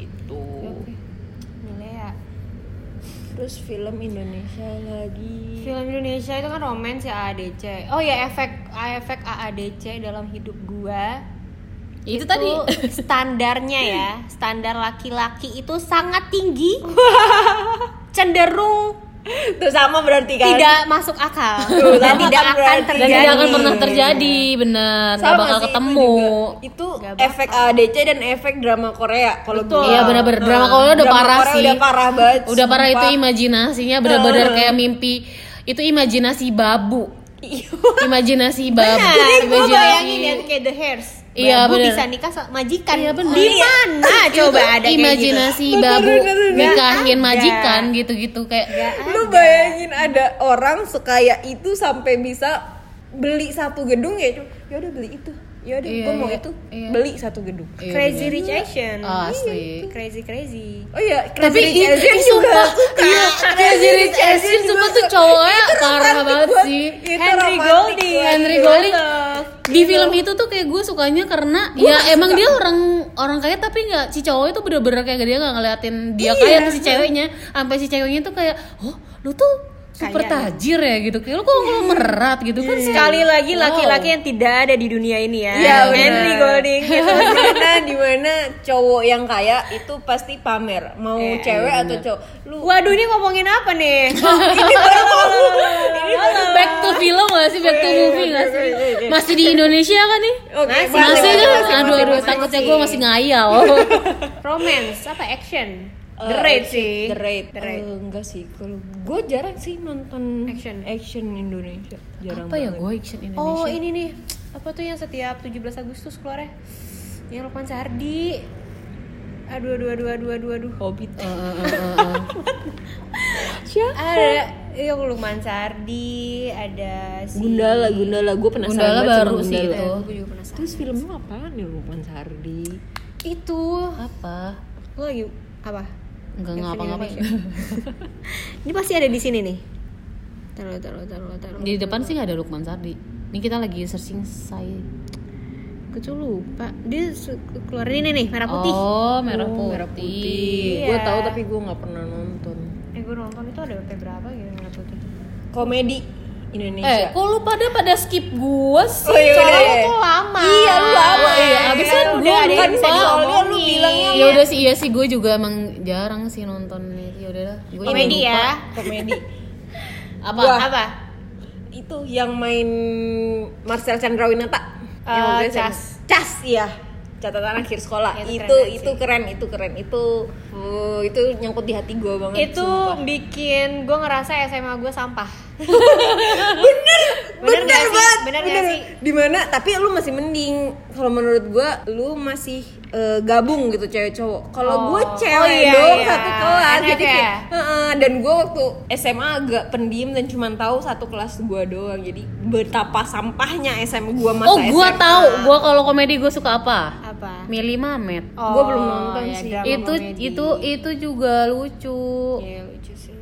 [SPEAKER 5] gitu
[SPEAKER 4] Milea.
[SPEAKER 5] terus film Indonesia *laughs*
[SPEAKER 1] Iya.
[SPEAKER 5] lagi
[SPEAKER 4] Film Indonesia itu kan romance ya AADC. Oh ya efek efek AADC dalam hidup gua. Ya,
[SPEAKER 1] Itu tadi.
[SPEAKER 5] *laughs*
[SPEAKER 4] standarnya ya. Standar laki-laki itu sangat
[SPEAKER 1] *laughs*
[SPEAKER 4] tinggi. cenderung
[SPEAKER 5] tuh sama berarti kan
[SPEAKER 4] tidak masuk
[SPEAKER 1] *laughs*
[SPEAKER 4] akal
[SPEAKER 5] Tuh,
[SPEAKER 4] dan
[SPEAKER 5] sama
[SPEAKER 4] tidak
[SPEAKER 5] kan
[SPEAKER 4] akan
[SPEAKER 5] berarti.
[SPEAKER 1] Dan
[SPEAKER 4] terjadi.
[SPEAKER 1] tidak akan pernah terjadi, bener. Gak
[SPEAKER 5] Sama
[SPEAKER 1] bakal
[SPEAKER 5] sih, itu
[SPEAKER 1] ketemu.
[SPEAKER 5] juga. itu,
[SPEAKER 4] Gak bakal.
[SPEAKER 5] efek ADC dan efek drama Korea kalau
[SPEAKER 4] Betul.
[SPEAKER 5] gua.
[SPEAKER 1] Iya benar-benar
[SPEAKER 5] Nah,
[SPEAKER 1] drama Korea udah
[SPEAKER 5] drama
[SPEAKER 1] parah
[SPEAKER 5] Korea
[SPEAKER 1] sih.
[SPEAKER 5] udah parah banget
[SPEAKER 1] Udah parah itu
[SPEAKER 5] sumpah. Eh.
[SPEAKER 1] imajinasinya benar-benar kayak mimpi. Itu imajinasi babu. Imajinasi babu.
[SPEAKER 4] Benar, gue
[SPEAKER 1] imajinasi-
[SPEAKER 4] bayangin ya kayak The Hairs.
[SPEAKER 1] Iya,
[SPEAKER 4] Babu
[SPEAKER 1] bener.
[SPEAKER 4] bisa nikah sama majikan.
[SPEAKER 1] Iya, bener.
[SPEAKER 4] Di mana coba ada kayak
[SPEAKER 1] imajinasi
[SPEAKER 4] gitu? Iya.
[SPEAKER 1] babu nikahin
[SPEAKER 4] ada.
[SPEAKER 1] majikan gitu-gitu kayak
[SPEAKER 5] lu bayangin ada orang sekaya itu sampai bisa beli satu gedung ya cuma, ya udah beli itu ya udah
[SPEAKER 1] Iya,
[SPEAKER 5] gua mau
[SPEAKER 1] iya,
[SPEAKER 5] itu
[SPEAKER 1] iya.
[SPEAKER 5] beli satu gedung
[SPEAKER 1] Iya,
[SPEAKER 4] Crazy
[SPEAKER 1] bener.
[SPEAKER 4] Rich Asian. Iya,
[SPEAKER 1] Asli.
[SPEAKER 4] Crazy crazy.
[SPEAKER 5] oh iya Crazy
[SPEAKER 1] Tapi
[SPEAKER 5] Rich
[SPEAKER 1] i-
[SPEAKER 5] Asian
[SPEAKER 1] i-
[SPEAKER 5] juga
[SPEAKER 1] sumpah,
[SPEAKER 5] suka.
[SPEAKER 1] iya, Crazy Rich Asian
[SPEAKER 5] juga
[SPEAKER 1] sumpah
[SPEAKER 5] suka.
[SPEAKER 1] tuh cowoknya
[SPEAKER 5] Itu
[SPEAKER 1] parah
[SPEAKER 5] romantis
[SPEAKER 1] banget
[SPEAKER 5] banget.
[SPEAKER 1] sih.
[SPEAKER 5] Itu
[SPEAKER 4] Henry
[SPEAKER 5] romantis
[SPEAKER 4] Golding.
[SPEAKER 5] banget.
[SPEAKER 1] Henry Golding Iya, di film itu tuh kayak gue sukanya karena ya emang dia orang orang kaya tapi nggak si cowok itu bener-bener kayak dia nggak ngeliatin
[SPEAKER 4] Iya.
[SPEAKER 1] dia kaya ke si ceweknya sampai si ceweknya tuh kayak oh lu tuh super
[SPEAKER 4] Kaya. Iya.
[SPEAKER 1] tajir ya gitu kayak lu kok merat gitu kan
[SPEAKER 4] Sekali lagi
[SPEAKER 1] Wow.
[SPEAKER 4] laki-laki yang tidak ada di dunia ini ya.
[SPEAKER 5] Iya, bener.
[SPEAKER 4] Henry Golding. gitu.
[SPEAKER 5] dimana dimana cowok yang kaya itu pasti pamer mau cewek atau cowok lu
[SPEAKER 4] Waduh ini ngomongin apa nih? *laughs*
[SPEAKER 5] ini baru mau ini baru
[SPEAKER 1] back to film gak sih back to movie gak sih masih di Indonesia kan nih
[SPEAKER 5] Oke,
[SPEAKER 4] Masih,
[SPEAKER 1] masih
[SPEAKER 5] masih, masih,
[SPEAKER 1] kan
[SPEAKER 5] masih,
[SPEAKER 1] aduh
[SPEAKER 5] masih,
[SPEAKER 1] aduh
[SPEAKER 5] masih.
[SPEAKER 1] takutnya gue masih
[SPEAKER 4] *laughs*
[SPEAKER 1] ngayal
[SPEAKER 4] Romance apa action?
[SPEAKER 5] Eh,
[SPEAKER 4] The Raid sih.
[SPEAKER 5] The Raid.
[SPEAKER 4] The Raid.
[SPEAKER 5] Eh, enggak sih, kalau gue jarang sih
[SPEAKER 4] Hmm.
[SPEAKER 5] nonton
[SPEAKER 4] Action.
[SPEAKER 5] action Indonesia. Jarang
[SPEAKER 1] apa ya
[SPEAKER 5] banget.
[SPEAKER 1] gue action Indonesia
[SPEAKER 4] Oh ini nih apa tuh yang setiap 17 Agustus keluar ya? Yang Lukman Sardi. Aduh aduh aduh aduh aduh aduh. Hobbit.
[SPEAKER 1] Eh, eh, eh, eh, eh.
[SPEAKER 4] *laughs* Siapa? Ada yang Lukman Sardi, ada si
[SPEAKER 5] Gundala, Gundala, gue penasaran
[SPEAKER 1] Gundala
[SPEAKER 5] banget sama
[SPEAKER 1] baru sih
[SPEAKER 5] Gundala.
[SPEAKER 1] itu.
[SPEAKER 4] Gue juga penasaran.
[SPEAKER 5] Terus filmnya apa nih Lukman Sardi?
[SPEAKER 4] Itu
[SPEAKER 1] apa
[SPEAKER 4] lo lagi apa?
[SPEAKER 1] nggak
[SPEAKER 4] Yang
[SPEAKER 1] ngapa-ngapain *laughs*
[SPEAKER 4] Indonesia. Ini pasti ada di sini nih. Taruh taruh taruh taruh.
[SPEAKER 1] di depan sih nggak ada Lukman Sardi ini kita lagi searching saya
[SPEAKER 4] Gue tuh lupa. Dia su- keluarin ini nih merah putih.
[SPEAKER 1] oh merah
[SPEAKER 5] Oh,
[SPEAKER 1] putih,
[SPEAKER 5] Merah Putih.
[SPEAKER 4] Iya.
[SPEAKER 5] Gue tahu tapi gue nggak pernah nonton.
[SPEAKER 4] Eh gue nonton itu ada berapa berapa gitu merah putih.
[SPEAKER 5] Komedi
[SPEAKER 1] eh
[SPEAKER 5] Indonesia.
[SPEAKER 1] kok lu pada pada skip gua sih
[SPEAKER 5] Oh, iya,
[SPEAKER 1] Soalnya
[SPEAKER 5] iya.
[SPEAKER 1] tuh lama
[SPEAKER 5] Iya, lu lama.
[SPEAKER 1] iya abis kan
[SPEAKER 5] Udah,
[SPEAKER 1] gua
[SPEAKER 5] ada yang
[SPEAKER 1] lupa.
[SPEAKER 5] bisa soalnya lu bilangnya
[SPEAKER 1] ya udah sih iya sih gue juga emang jarang sih nonton ya udah lah Gua juga
[SPEAKER 4] Komedi
[SPEAKER 1] lupa.
[SPEAKER 4] ya.
[SPEAKER 5] Komedi.
[SPEAKER 1] apa
[SPEAKER 5] Gua.
[SPEAKER 4] Apa?
[SPEAKER 5] itu yang main Marcel Chandrawinata.
[SPEAKER 4] Eh,
[SPEAKER 5] Yang waktu itu
[SPEAKER 4] Cas.
[SPEAKER 5] sama- Cas iya. Catatan akhir sekolah.
[SPEAKER 4] Itu
[SPEAKER 5] Itu
[SPEAKER 4] keren banget
[SPEAKER 5] itu
[SPEAKER 4] sih.
[SPEAKER 5] keren, itu keren, itu uh, itu nyangkut di hati gue banget.
[SPEAKER 4] itu bikin gue ngerasa SMA gue sampah
[SPEAKER 5] bener,
[SPEAKER 4] *laughs* bener nggak sih?
[SPEAKER 5] banget.
[SPEAKER 4] Bener
[SPEAKER 5] Bener,
[SPEAKER 4] nggak sih?
[SPEAKER 5] Di mana? Tapi lu masih mending kalau menurut gue lu masih eh, gabung gitu cewek cowok. Kalau
[SPEAKER 4] Oh.
[SPEAKER 5] gue cewek
[SPEAKER 4] Oh, iya,
[SPEAKER 5] doang
[SPEAKER 4] iya.
[SPEAKER 5] satu kelas
[SPEAKER 4] Enak
[SPEAKER 5] jadi
[SPEAKER 4] ya?
[SPEAKER 5] kayak, "Heeh." dan gue waktu SMA agak pendiam dan cuma tahu satu kelas gue doang. Jadi betapa sampahnya SMA gue masa
[SPEAKER 1] oh gua
[SPEAKER 5] SMA.
[SPEAKER 1] tahu gua kalau komedi gua suka apa
[SPEAKER 4] apa
[SPEAKER 1] Mili Mamet
[SPEAKER 5] Gua belum
[SPEAKER 4] Oh,
[SPEAKER 5] nonton sih.
[SPEAKER 4] drama
[SPEAKER 1] itu
[SPEAKER 4] komedi.
[SPEAKER 1] itu itu juga lucu
[SPEAKER 4] ya
[SPEAKER 5] Iya.
[SPEAKER 4] lucu sih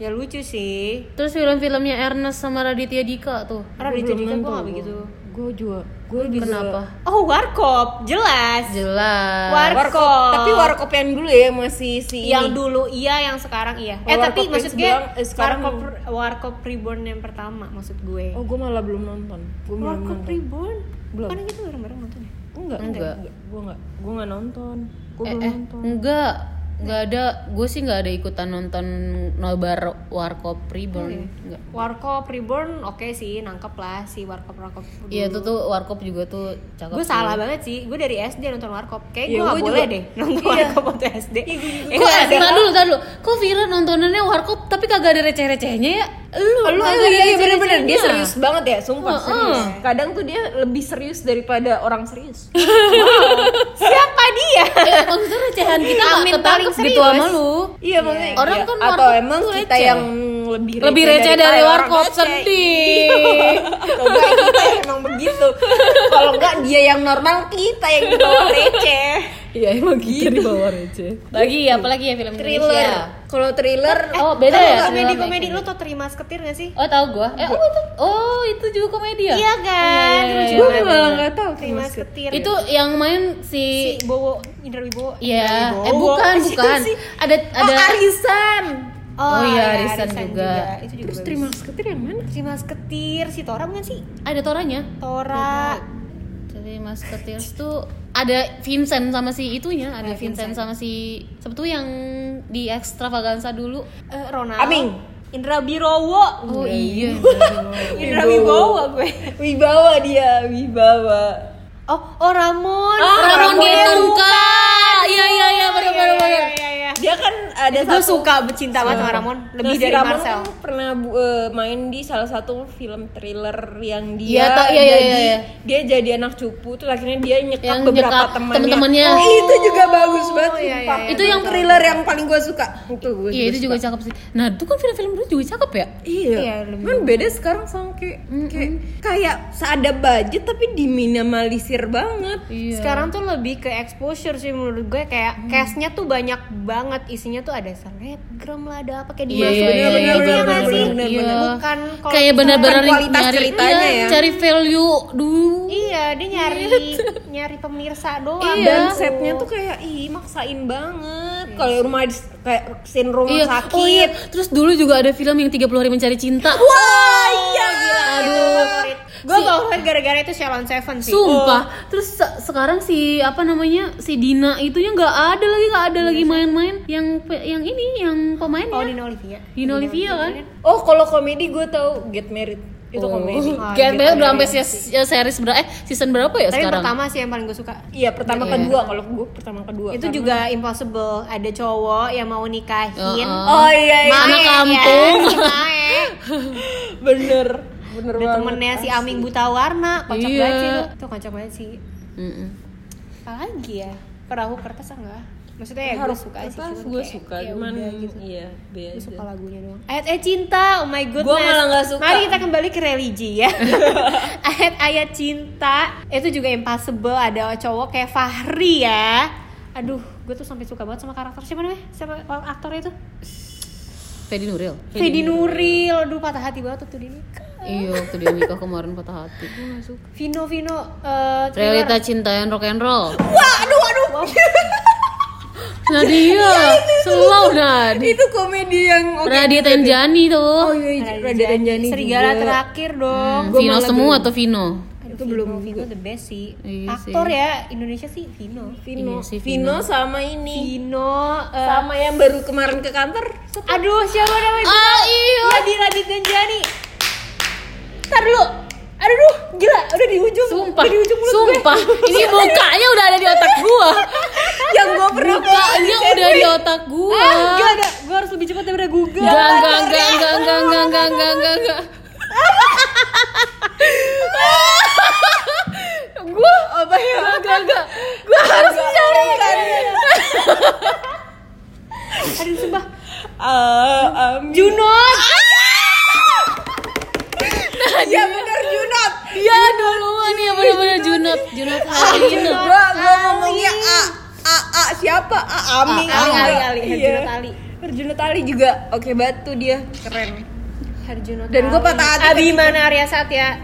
[SPEAKER 4] ya lucu sih
[SPEAKER 1] Terus film-filmnya Ernest sama Raditya Dika tuh.
[SPEAKER 4] karena
[SPEAKER 5] Gua
[SPEAKER 4] di
[SPEAKER 5] belum
[SPEAKER 4] Jogja gue
[SPEAKER 5] nonton,
[SPEAKER 4] gak
[SPEAKER 5] gua.
[SPEAKER 4] begitu
[SPEAKER 5] Gue juga, gue juga.
[SPEAKER 1] Kenapa?
[SPEAKER 4] oh warkop jelas
[SPEAKER 1] Jelas.
[SPEAKER 4] War-
[SPEAKER 5] Warkop.
[SPEAKER 4] Warkop.
[SPEAKER 5] Tapi warkop yang dulu ya masih si
[SPEAKER 4] yang
[SPEAKER 5] ini.
[SPEAKER 4] dulu iya yang sekarang iya eh
[SPEAKER 5] Oh,
[SPEAKER 4] tapi
[SPEAKER 5] warkop yang
[SPEAKER 4] maksud gue
[SPEAKER 5] sebelum- eh, sekarang-
[SPEAKER 4] warkop warkop reborn yang pertama maksud gue Iya,
[SPEAKER 5] Oh, gue malah belum nonton. Gue belum
[SPEAKER 4] warkop
[SPEAKER 5] nonton.
[SPEAKER 4] reborn
[SPEAKER 5] Belum.
[SPEAKER 4] kan kita bareng bareng nonton ya
[SPEAKER 5] Enggak,
[SPEAKER 1] Enggak.
[SPEAKER 5] enggak. Gue enggak. Gue enggak nonton. Gue
[SPEAKER 1] Eh,
[SPEAKER 5] belum
[SPEAKER 1] eh,
[SPEAKER 5] nonton.
[SPEAKER 1] enggak, enggak ada. Gue sih enggak ada ikutan nonton nobar Warkop
[SPEAKER 5] Iya.
[SPEAKER 1] Reborn. Enggak.
[SPEAKER 4] warkop reborn oke sih nangkep lah si warkop warkop
[SPEAKER 1] Iya, itu tuh Warkop juga tuh cakep.
[SPEAKER 4] gue
[SPEAKER 1] sih.
[SPEAKER 4] salah banget sih gue dari SD nonton warkop kayak
[SPEAKER 5] Iya,
[SPEAKER 4] gue gak
[SPEAKER 5] gua
[SPEAKER 4] boleh
[SPEAKER 5] juga.
[SPEAKER 4] deh nonton warkop waktu SD
[SPEAKER 1] Kok
[SPEAKER 4] Eh, gua
[SPEAKER 1] eh,
[SPEAKER 4] ada-
[SPEAKER 1] tar dulu, tar dulu. Kok Vira nontonannya Warkop tapi kagak ada receh-recehnya ya? Lu,
[SPEAKER 5] Lu
[SPEAKER 1] kagak
[SPEAKER 5] iya,
[SPEAKER 1] ada
[SPEAKER 5] iya bener-bener dia
[SPEAKER 1] receh-recehnya.
[SPEAKER 5] serius banget ya, sumpah
[SPEAKER 1] Heeh.
[SPEAKER 5] serius. Kadang iya, tuh dia lebih serius daripada orang serius.
[SPEAKER 4] siapa dia
[SPEAKER 1] *laughs* Eh, maksudnya recehan kita
[SPEAKER 4] Amin,
[SPEAKER 1] nggak
[SPEAKER 4] paling
[SPEAKER 1] ketangkep gitu
[SPEAKER 4] serius.
[SPEAKER 1] sama lu.
[SPEAKER 5] iya maksudnya.
[SPEAKER 1] Orang
[SPEAKER 5] iya.
[SPEAKER 1] kan
[SPEAKER 5] atau
[SPEAKER 1] warkop
[SPEAKER 5] emang
[SPEAKER 1] tuh
[SPEAKER 5] kita
[SPEAKER 1] receh.
[SPEAKER 5] yang lebih receh,
[SPEAKER 1] Lebih receh dari
[SPEAKER 5] daripada orang
[SPEAKER 1] Warkop
[SPEAKER 5] receh.
[SPEAKER 1] sedih. *laughs*
[SPEAKER 5] Coba kita emang begitu. Kalau enggak dia yang normal, kita yang di bawah receh.
[SPEAKER 1] Iya, emang gitu di bawah receh. Lagi apalagi ya film
[SPEAKER 5] Thriller.
[SPEAKER 1] Indonesia.
[SPEAKER 5] Kalau thriller
[SPEAKER 1] Oh, beda ya?
[SPEAKER 4] Eh, komedi
[SPEAKER 1] Thriller
[SPEAKER 4] komedi
[SPEAKER 1] sama
[SPEAKER 4] lu tau terima seketir gak sih
[SPEAKER 1] Oh tahu gua. Eh oh itu oh itu juga komedi ya?
[SPEAKER 4] iya
[SPEAKER 1] Iya,
[SPEAKER 4] kan Lucu
[SPEAKER 1] iya,
[SPEAKER 5] Gua
[SPEAKER 1] iya.
[SPEAKER 4] banget.
[SPEAKER 5] malah nggak tahu
[SPEAKER 4] terima
[SPEAKER 5] Mas.
[SPEAKER 4] seketir
[SPEAKER 1] Itu yang main
[SPEAKER 4] si
[SPEAKER 1] si
[SPEAKER 4] Bowo Oh, Indra Wibowo
[SPEAKER 1] Iya,
[SPEAKER 4] Indra
[SPEAKER 1] eh
[SPEAKER 4] *laughs* Wibowo.
[SPEAKER 1] bukan,
[SPEAKER 4] Situ
[SPEAKER 1] bukan.
[SPEAKER 4] sih.
[SPEAKER 1] Ada ada
[SPEAKER 5] Arisan.
[SPEAKER 1] Oh iya,
[SPEAKER 4] ya,
[SPEAKER 1] Arisan juga.
[SPEAKER 4] Itu juga
[SPEAKER 5] Terus
[SPEAKER 4] bagus.
[SPEAKER 5] terima ketir yang mana?
[SPEAKER 4] Terima Ketir si Tora bukan sih?
[SPEAKER 1] Ada toranya.
[SPEAKER 4] Tora.
[SPEAKER 1] Jadi Musketeers tuh ada Vincent sama si itunya, ada
[SPEAKER 4] Ada
[SPEAKER 1] Vincent,
[SPEAKER 4] Vincent.
[SPEAKER 1] sama si siapa tuh yang di Extravaganza dulu.
[SPEAKER 4] Eh, Ronald.
[SPEAKER 5] Aming.
[SPEAKER 4] Indra Birowo.
[SPEAKER 1] Oh iya.
[SPEAKER 4] Indra Wibowo gue.
[SPEAKER 5] Wibawa dia, wibawa.
[SPEAKER 4] Oh, oh Ramon.
[SPEAKER 1] Ah, Ramon
[SPEAKER 5] Ramon
[SPEAKER 1] Gemuka. Iya iya iya benar benar
[SPEAKER 4] Iya,
[SPEAKER 1] benar.
[SPEAKER 4] iya, iya.
[SPEAKER 5] Dia kan ada
[SPEAKER 4] Gue suka cinta banget sama Ramon, lebih
[SPEAKER 5] Nah, si
[SPEAKER 4] dari
[SPEAKER 5] Ramon
[SPEAKER 4] Marcel.
[SPEAKER 5] kan pernah bu- eh, main di salah satu film thriller yang dia
[SPEAKER 1] Iya, tak- iya, iya,
[SPEAKER 5] jadi
[SPEAKER 1] iya, iya.
[SPEAKER 5] dia jadi anak cupu terus akhirnya dia nyekap
[SPEAKER 1] Yang
[SPEAKER 5] beberapa
[SPEAKER 1] nyekap
[SPEAKER 5] temannya.
[SPEAKER 1] temen-temennya.
[SPEAKER 2] Oh,
[SPEAKER 5] Eh, itu juga
[SPEAKER 1] Oh,
[SPEAKER 5] bagus banget.
[SPEAKER 4] iya, iya,
[SPEAKER 5] sumpah.
[SPEAKER 4] iya,
[SPEAKER 5] itu
[SPEAKER 1] betul.
[SPEAKER 5] yang thriller yang paling gue suka. Itu gue.
[SPEAKER 1] Iya itu juga cakep sih. Nah, itu kan film-film dulu juga cakep ya?
[SPEAKER 5] Iya,
[SPEAKER 4] Iya, lebih
[SPEAKER 5] kan beda sekarang sama kayak kayak, kayak seada budget tapi diminimalisir banget.
[SPEAKER 1] Iya. Hmm.
[SPEAKER 4] Sekarang tuh lebih ke exposure sih menurut gue kayak cashnya tuh banyak banget isinya tuh ada selebgram lah ada apa kayak
[SPEAKER 1] Iya,
[SPEAKER 4] dimasukin
[SPEAKER 1] iya, iya,
[SPEAKER 4] gitu
[SPEAKER 1] iya,
[SPEAKER 4] ya
[SPEAKER 1] benar,
[SPEAKER 4] nggak
[SPEAKER 1] benar,
[SPEAKER 4] sih?
[SPEAKER 1] benar, benar, benar.
[SPEAKER 4] Bukan kalau
[SPEAKER 1] kayak benar-benar
[SPEAKER 5] bukan kualitas
[SPEAKER 1] nyari
[SPEAKER 5] ceritanya
[SPEAKER 1] iya,
[SPEAKER 5] ya.
[SPEAKER 1] cari value dulu.
[SPEAKER 4] Iya, dia nyari nyari pemirsa doang.
[SPEAKER 1] Iya.
[SPEAKER 5] Dan setnya tuh kayak ih maksain banget. Kalau rumah dis- kayak scene rumah
[SPEAKER 1] Iya,
[SPEAKER 5] sakit.
[SPEAKER 1] oh iya. Terus dulu juga ada film yang 30 hari mencari cinta.
[SPEAKER 5] Wah, iya.
[SPEAKER 1] Aduh.
[SPEAKER 4] Gue favorit gara-gara itu Shalon Seven sih.
[SPEAKER 1] Sumpah. Terus se- sekarang si apa namanya si Dina itunya nggak ada lagi nggak ada lagi main-main. Yang pe- yang ini yang pemainnya.
[SPEAKER 4] Oh, Dina Olivia.
[SPEAKER 1] Dina Olivia kan.
[SPEAKER 5] Oh, kalau komedi gue tahu Get Married. Itu komedi.
[SPEAKER 1] Kayak Bel Iya. udah sampai se- ya series berapa? Eh season berapa ya
[SPEAKER 4] Tapi
[SPEAKER 1] sekarang?
[SPEAKER 4] pertama sih yang paling gue suka.
[SPEAKER 5] Iya, pertama kedua kalau gue pertama kedua.
[SPEAKER 4] Itu
[SPEAKER 5] Karena-
[SPEAKER 4] juga impossible. Ada cowok yang mau nikahin.
[SPEAKER 1] Uh-uh.
[SPEAKER 5] Oh iya, iya.
[SPEAKER 1] Mana
[SPEAKER 4] Mae,
[SPEAKER 1] kampung?
[SPEAKER 4] ya, si Mae.
[SPEAKER 5] Bener. Bener
[SPEAKER 4] Ada
[SPEAKER 5] banget.
[SPEAKER 4] temennya ya si Aming Buta Warna. Kocak
[SPEAKER 1] Iya.
[SPEAKER 4] banget sih itu. Itu kocak banget sih.
[SPEAKER 1] Mm-mm.
[SPEAKER 4] Apalagi ya? Perahu kertas enggak? Maksudnya ya gue
[SPEAKER 5] harus
[SPEAKER 4] suka
[SPEAKER 5] suka
[SPEAKER 4] sih. cuman
[SPEAKER 5] gue
[SPEAKER 4] kayak,
[SPEAKER 5] suka
[SPEAKER 4] ya
[SPEAKER 5] cuman
[SPEAKER 4] udah gitu.
[SPEAKER 5] iya
[SPEAKER 4] Gue
[SPEAKER 5] biasa.
[SPEAKER 4] suka lagunya doang. Ayat ayat cinta, oh my goodness.
[SPEAKER 5] Gua malah nggak suka.
[SPEAKER 4] Mari kita kembali ke religi
[SPEAKER 5] *laughs*
[SPEAKER 4] ya. Ayat-ayat cinta itu juga impossible. Ada cowok kayak Fahri ya. Aduh, gue tuh sampai suka banget sama karakter siapa namanya? Siapa aktornya itu?
[SPEAKER 1] Fedi Nuril.
[SPEAKER 4] Fedi Nuril. Aduh, patah hati banget tuh Dini.
[SPEAKER 1] Iya waktu dia nikah kemarin patah hati.
[SPEAKER 4] Vino Vino eh thriller.
[SPEAKER 1] Realita cinta yang rock and roll.
[SPEAKER 5] Wah, aduh aduh.
[SPEAKER 4] *laughs*
[SPEAKER 1] Nah dia, slow nah.
[SPEAKER 5] itu komedi yang Iya, oke.
[SPEAKER 1] Radia Tenjani
[SPEAKER 5] Oh
[SPEAKER 1] tuh.
[SPEAKER 5] iya, gitu. iya,
[SPEAKER 4] Raden
[SPEAKER 5] Raden Ranjani
[SPEAKER 4] Serigala
[SPEAKER 5] juga.
[SPEAKER 4] terakhir dong.
[SPEAKER 1] Hmm,
[SPEAKER 4] Gua
[SPEAKER 1] Vino
[SPEAKER 4] malah
[SPEAKER 1] semua
[SPEAKER 4] belum-
[SPEAKER 1] tuh Vino.
[SPEAKER 4] Aduh, itu belum Vino the best sih.
[SPEAKER 1] Iya
[SPEAKER 4] Aktor ya Indonesia sih Vino.
[SPEAKER 5] Vino,
[SPEAKER 1] Iya sih,
[SPEAKER 5] Vino sama ini.
[SPEAKER 4] Vino eh,
[SPEAKER 5] Sama yang baru kemarin ke kantor. Set-
[SPEAKER 4] Aduh, siapa namanya?
[SPEAKER 1] Ah iya.
[SPEAKER 4] Radit Radit Ganjani. Ntar dulu. Aduh, gila, udah di ujung.
[SPEAKER 1] Sumpah,
[SPEAKER 4] Udah di ujung mulut
[SPEAKER 1] sumpah. *laughs* Ini mukanya udah ada di otak
[SPEAKER 4] *laughs*
[SPEAKER 1] gua.
[SPEAKER 5] yang gue pernah
[SPEAKER 1] Mukanya udah di otak
[SPEAKER 4] gue.
[SPEAKER 1] gua.
[SPEAKER 4] Ah, gila, gila. Gue harus lebih cepat daripada Google.
[SPEAKER 1] Enggak, enggak, enggak, enggak, enggak, enggak, enggak, enggak, enggak,
[SPEAKER 4] *laughs*
[SPEAKER 1] enggak.
[SPEAKER 5] gue apa ya enggak enggak gue harus cari
[SPEAKER 4] Aduh, sumpah.
[SPEAKER 5] Junot ya benar Junot
[SPEAKER 1] Iya duluan ya bener-bener Junot, Junot Halil.
[SPEAKER 5] gue gue ngomongnya A A A siapa A Aming
[SPEAKER 1] A-
[SPEAKER 4] Ah,
[SPEAKER 1] Ali,
[SPEAKER 5] apa?
[SPEAKER 4] Ali, Ali,
[SPEAKER 5] Iya.
[SPEAKER 4] Herjunot Ali.
[SPEAKER 5] Herjunot Ali juga oke batu dia keren
[SPEAKER 4] Herjunot
[SPEAKER 5] Dan gua
[SPEAKER 4] Ali.
[SPEAKER 5] patah hati
[SPEAKER 4] Abimana Arya Satya.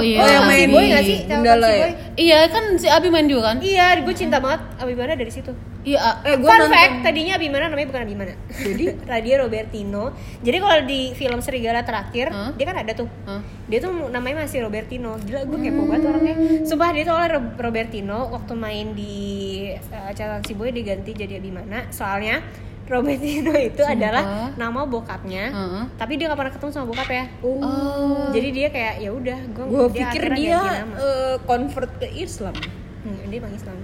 [SPEAKER 1] Oh iya.
[SPEAKER 5] oh yang main
[SPEAKER 4] Si Boy nggak sih? Calon si
[SPEAKER 5] Gundala ya?
[SPEAKER 4] Boy.
[SPEAKER 1] Iya kan si Abi main juga kan?
[SPEAKER 4] Iya, gue cinta banget Abimana dari situ.
[SPEAKER 1] Iya.
[SPEAKER 5] eh gue
[SPEAKER 4] Fun
[SPEAKER 5] nonton
[SPEAKER 4] fact, tadinya Abimana namanya bukan Abimana.
[SPEAKER 5] *laughs*
[SPEAKER 4] Jadi Radia Robertino. Jadi kalau di film Serigala terakhir,
[SPEAKER 1] Hah?
[SPEAKER 4] dia kan ada tuh.
[SPEAKER 1] Hah?
[SPEAKER 4] Dia tuh namanya masih Robertino. Gila gue kepo
[SPEAKER 5] Hmm.
[SPEAKER 4] banget orangnya. Sumpah dia tuh oleh Rob- Robertino waktu main di uh, catatan si boy diganti jadi Abimana. Soalnya Robertino itu adalah nama bokapnya.
[SPEAKER 1] Heeh.
[SPEAKER 4] Tapi dia gak pernah ketemu sama bokap ya.
[SPEAKER 1] Oh.
[SPEAKER 4] Jadi dia kayak ya udah gue
[SPEAKER 5] gue pikir
[SPEAKER 4] akhirnya
[SPEAKER 5] dia
[SPEAKER 4] ganti nama.
[SPEAKER 5] eh, convert ke Islam
[SPEAKER 4] Hmm, dia emang Islam.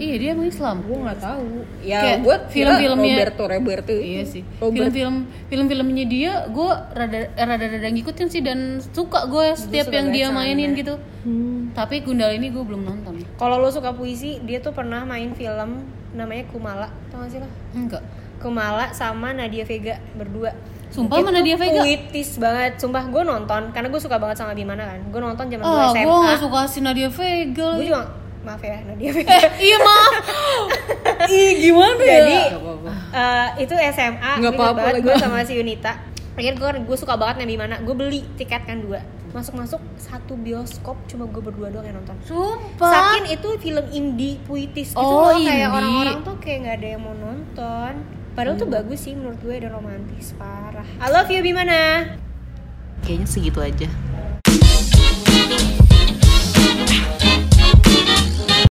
[SPEAKER 1] Iya dia emang Islam.
[SPEAKER 5] gue nggak tahu ya
[SPEAKER 1] Kayak
[SPEAKER 5] gue
[SPEAKER 1] film-filmnya-
[SPEAKER 5] Roberto Roberto itu.
[SPEAKER 1] Iya sih.
[SPEAKER 5] Robert-
[SPEAKER 1] Film-film film-filmnya dia gue rada rada rada ngikutin sih dan suka gue setiap yang dia mainin gitu. Tapi Gundala ini gue belum nonton.
[SPEAKER 4] Kalau lo suka puisi, dia tuh pernah main film namanya Kumala, tau gak sih lo?
[SPEAKER 1] Enggak.
[SPEAKER 4] Kumala sama Nadia Vega berdua.
[SPEAKER 1] Sumpah Oh, sama Nadia Vega?
[SPEAKER 4] Puitis banget, sumpah gue nonton karena gue suka banget sama Bimana kan. Gue nonton zaman gue
[SPEAKER 1] Ah,
[SPEAKER 4] SMA.
[SPEAKER 1] gue gak suka si Nadia Vega.
[SPEAKER 4] Gue
[SPEAKER 1] lagi.
[SPEAKER 4] juga maaf ya Nadia Vega.
[SPEAKER 1] Eh, iya maaf. *laughs* Ih, gimana ya?
[SPEAKER 4] Jadi eh, itu SMA,
[SPEAKER 5] Nggak
[SPEAKER 4] gue
[SPEAKER 5] apa-apa
[SPEAKER 4] banget
[SPEAKER 5] lagi.
[SPEAKER 4] gue sama si Yunita. Akhirnya gue gue suka banget nih Bimana. Gue beli tiket kan dua. Masuk-masuk satu bioskop cuma gue berdua doang yang nonton.
[SPEAKER 1] sumpah.
[SPEAKER 4] Saking itu film indie puitis gitu
[SPEAKER 1] Oh,
[SPEAKER 4] loh
[SPEAKER 1] indie.
[SPEAKER 4] kayak orang-orang tuh kayak nggak ada yang mau nonton. Padahal
[SPEAKER 1] Hmm.
[SPEAKER 4] tuh bagus sih menurut gue dan romantis parah. I love you Bimana.
[SPEAKER 1] Kayaknya segitu aja.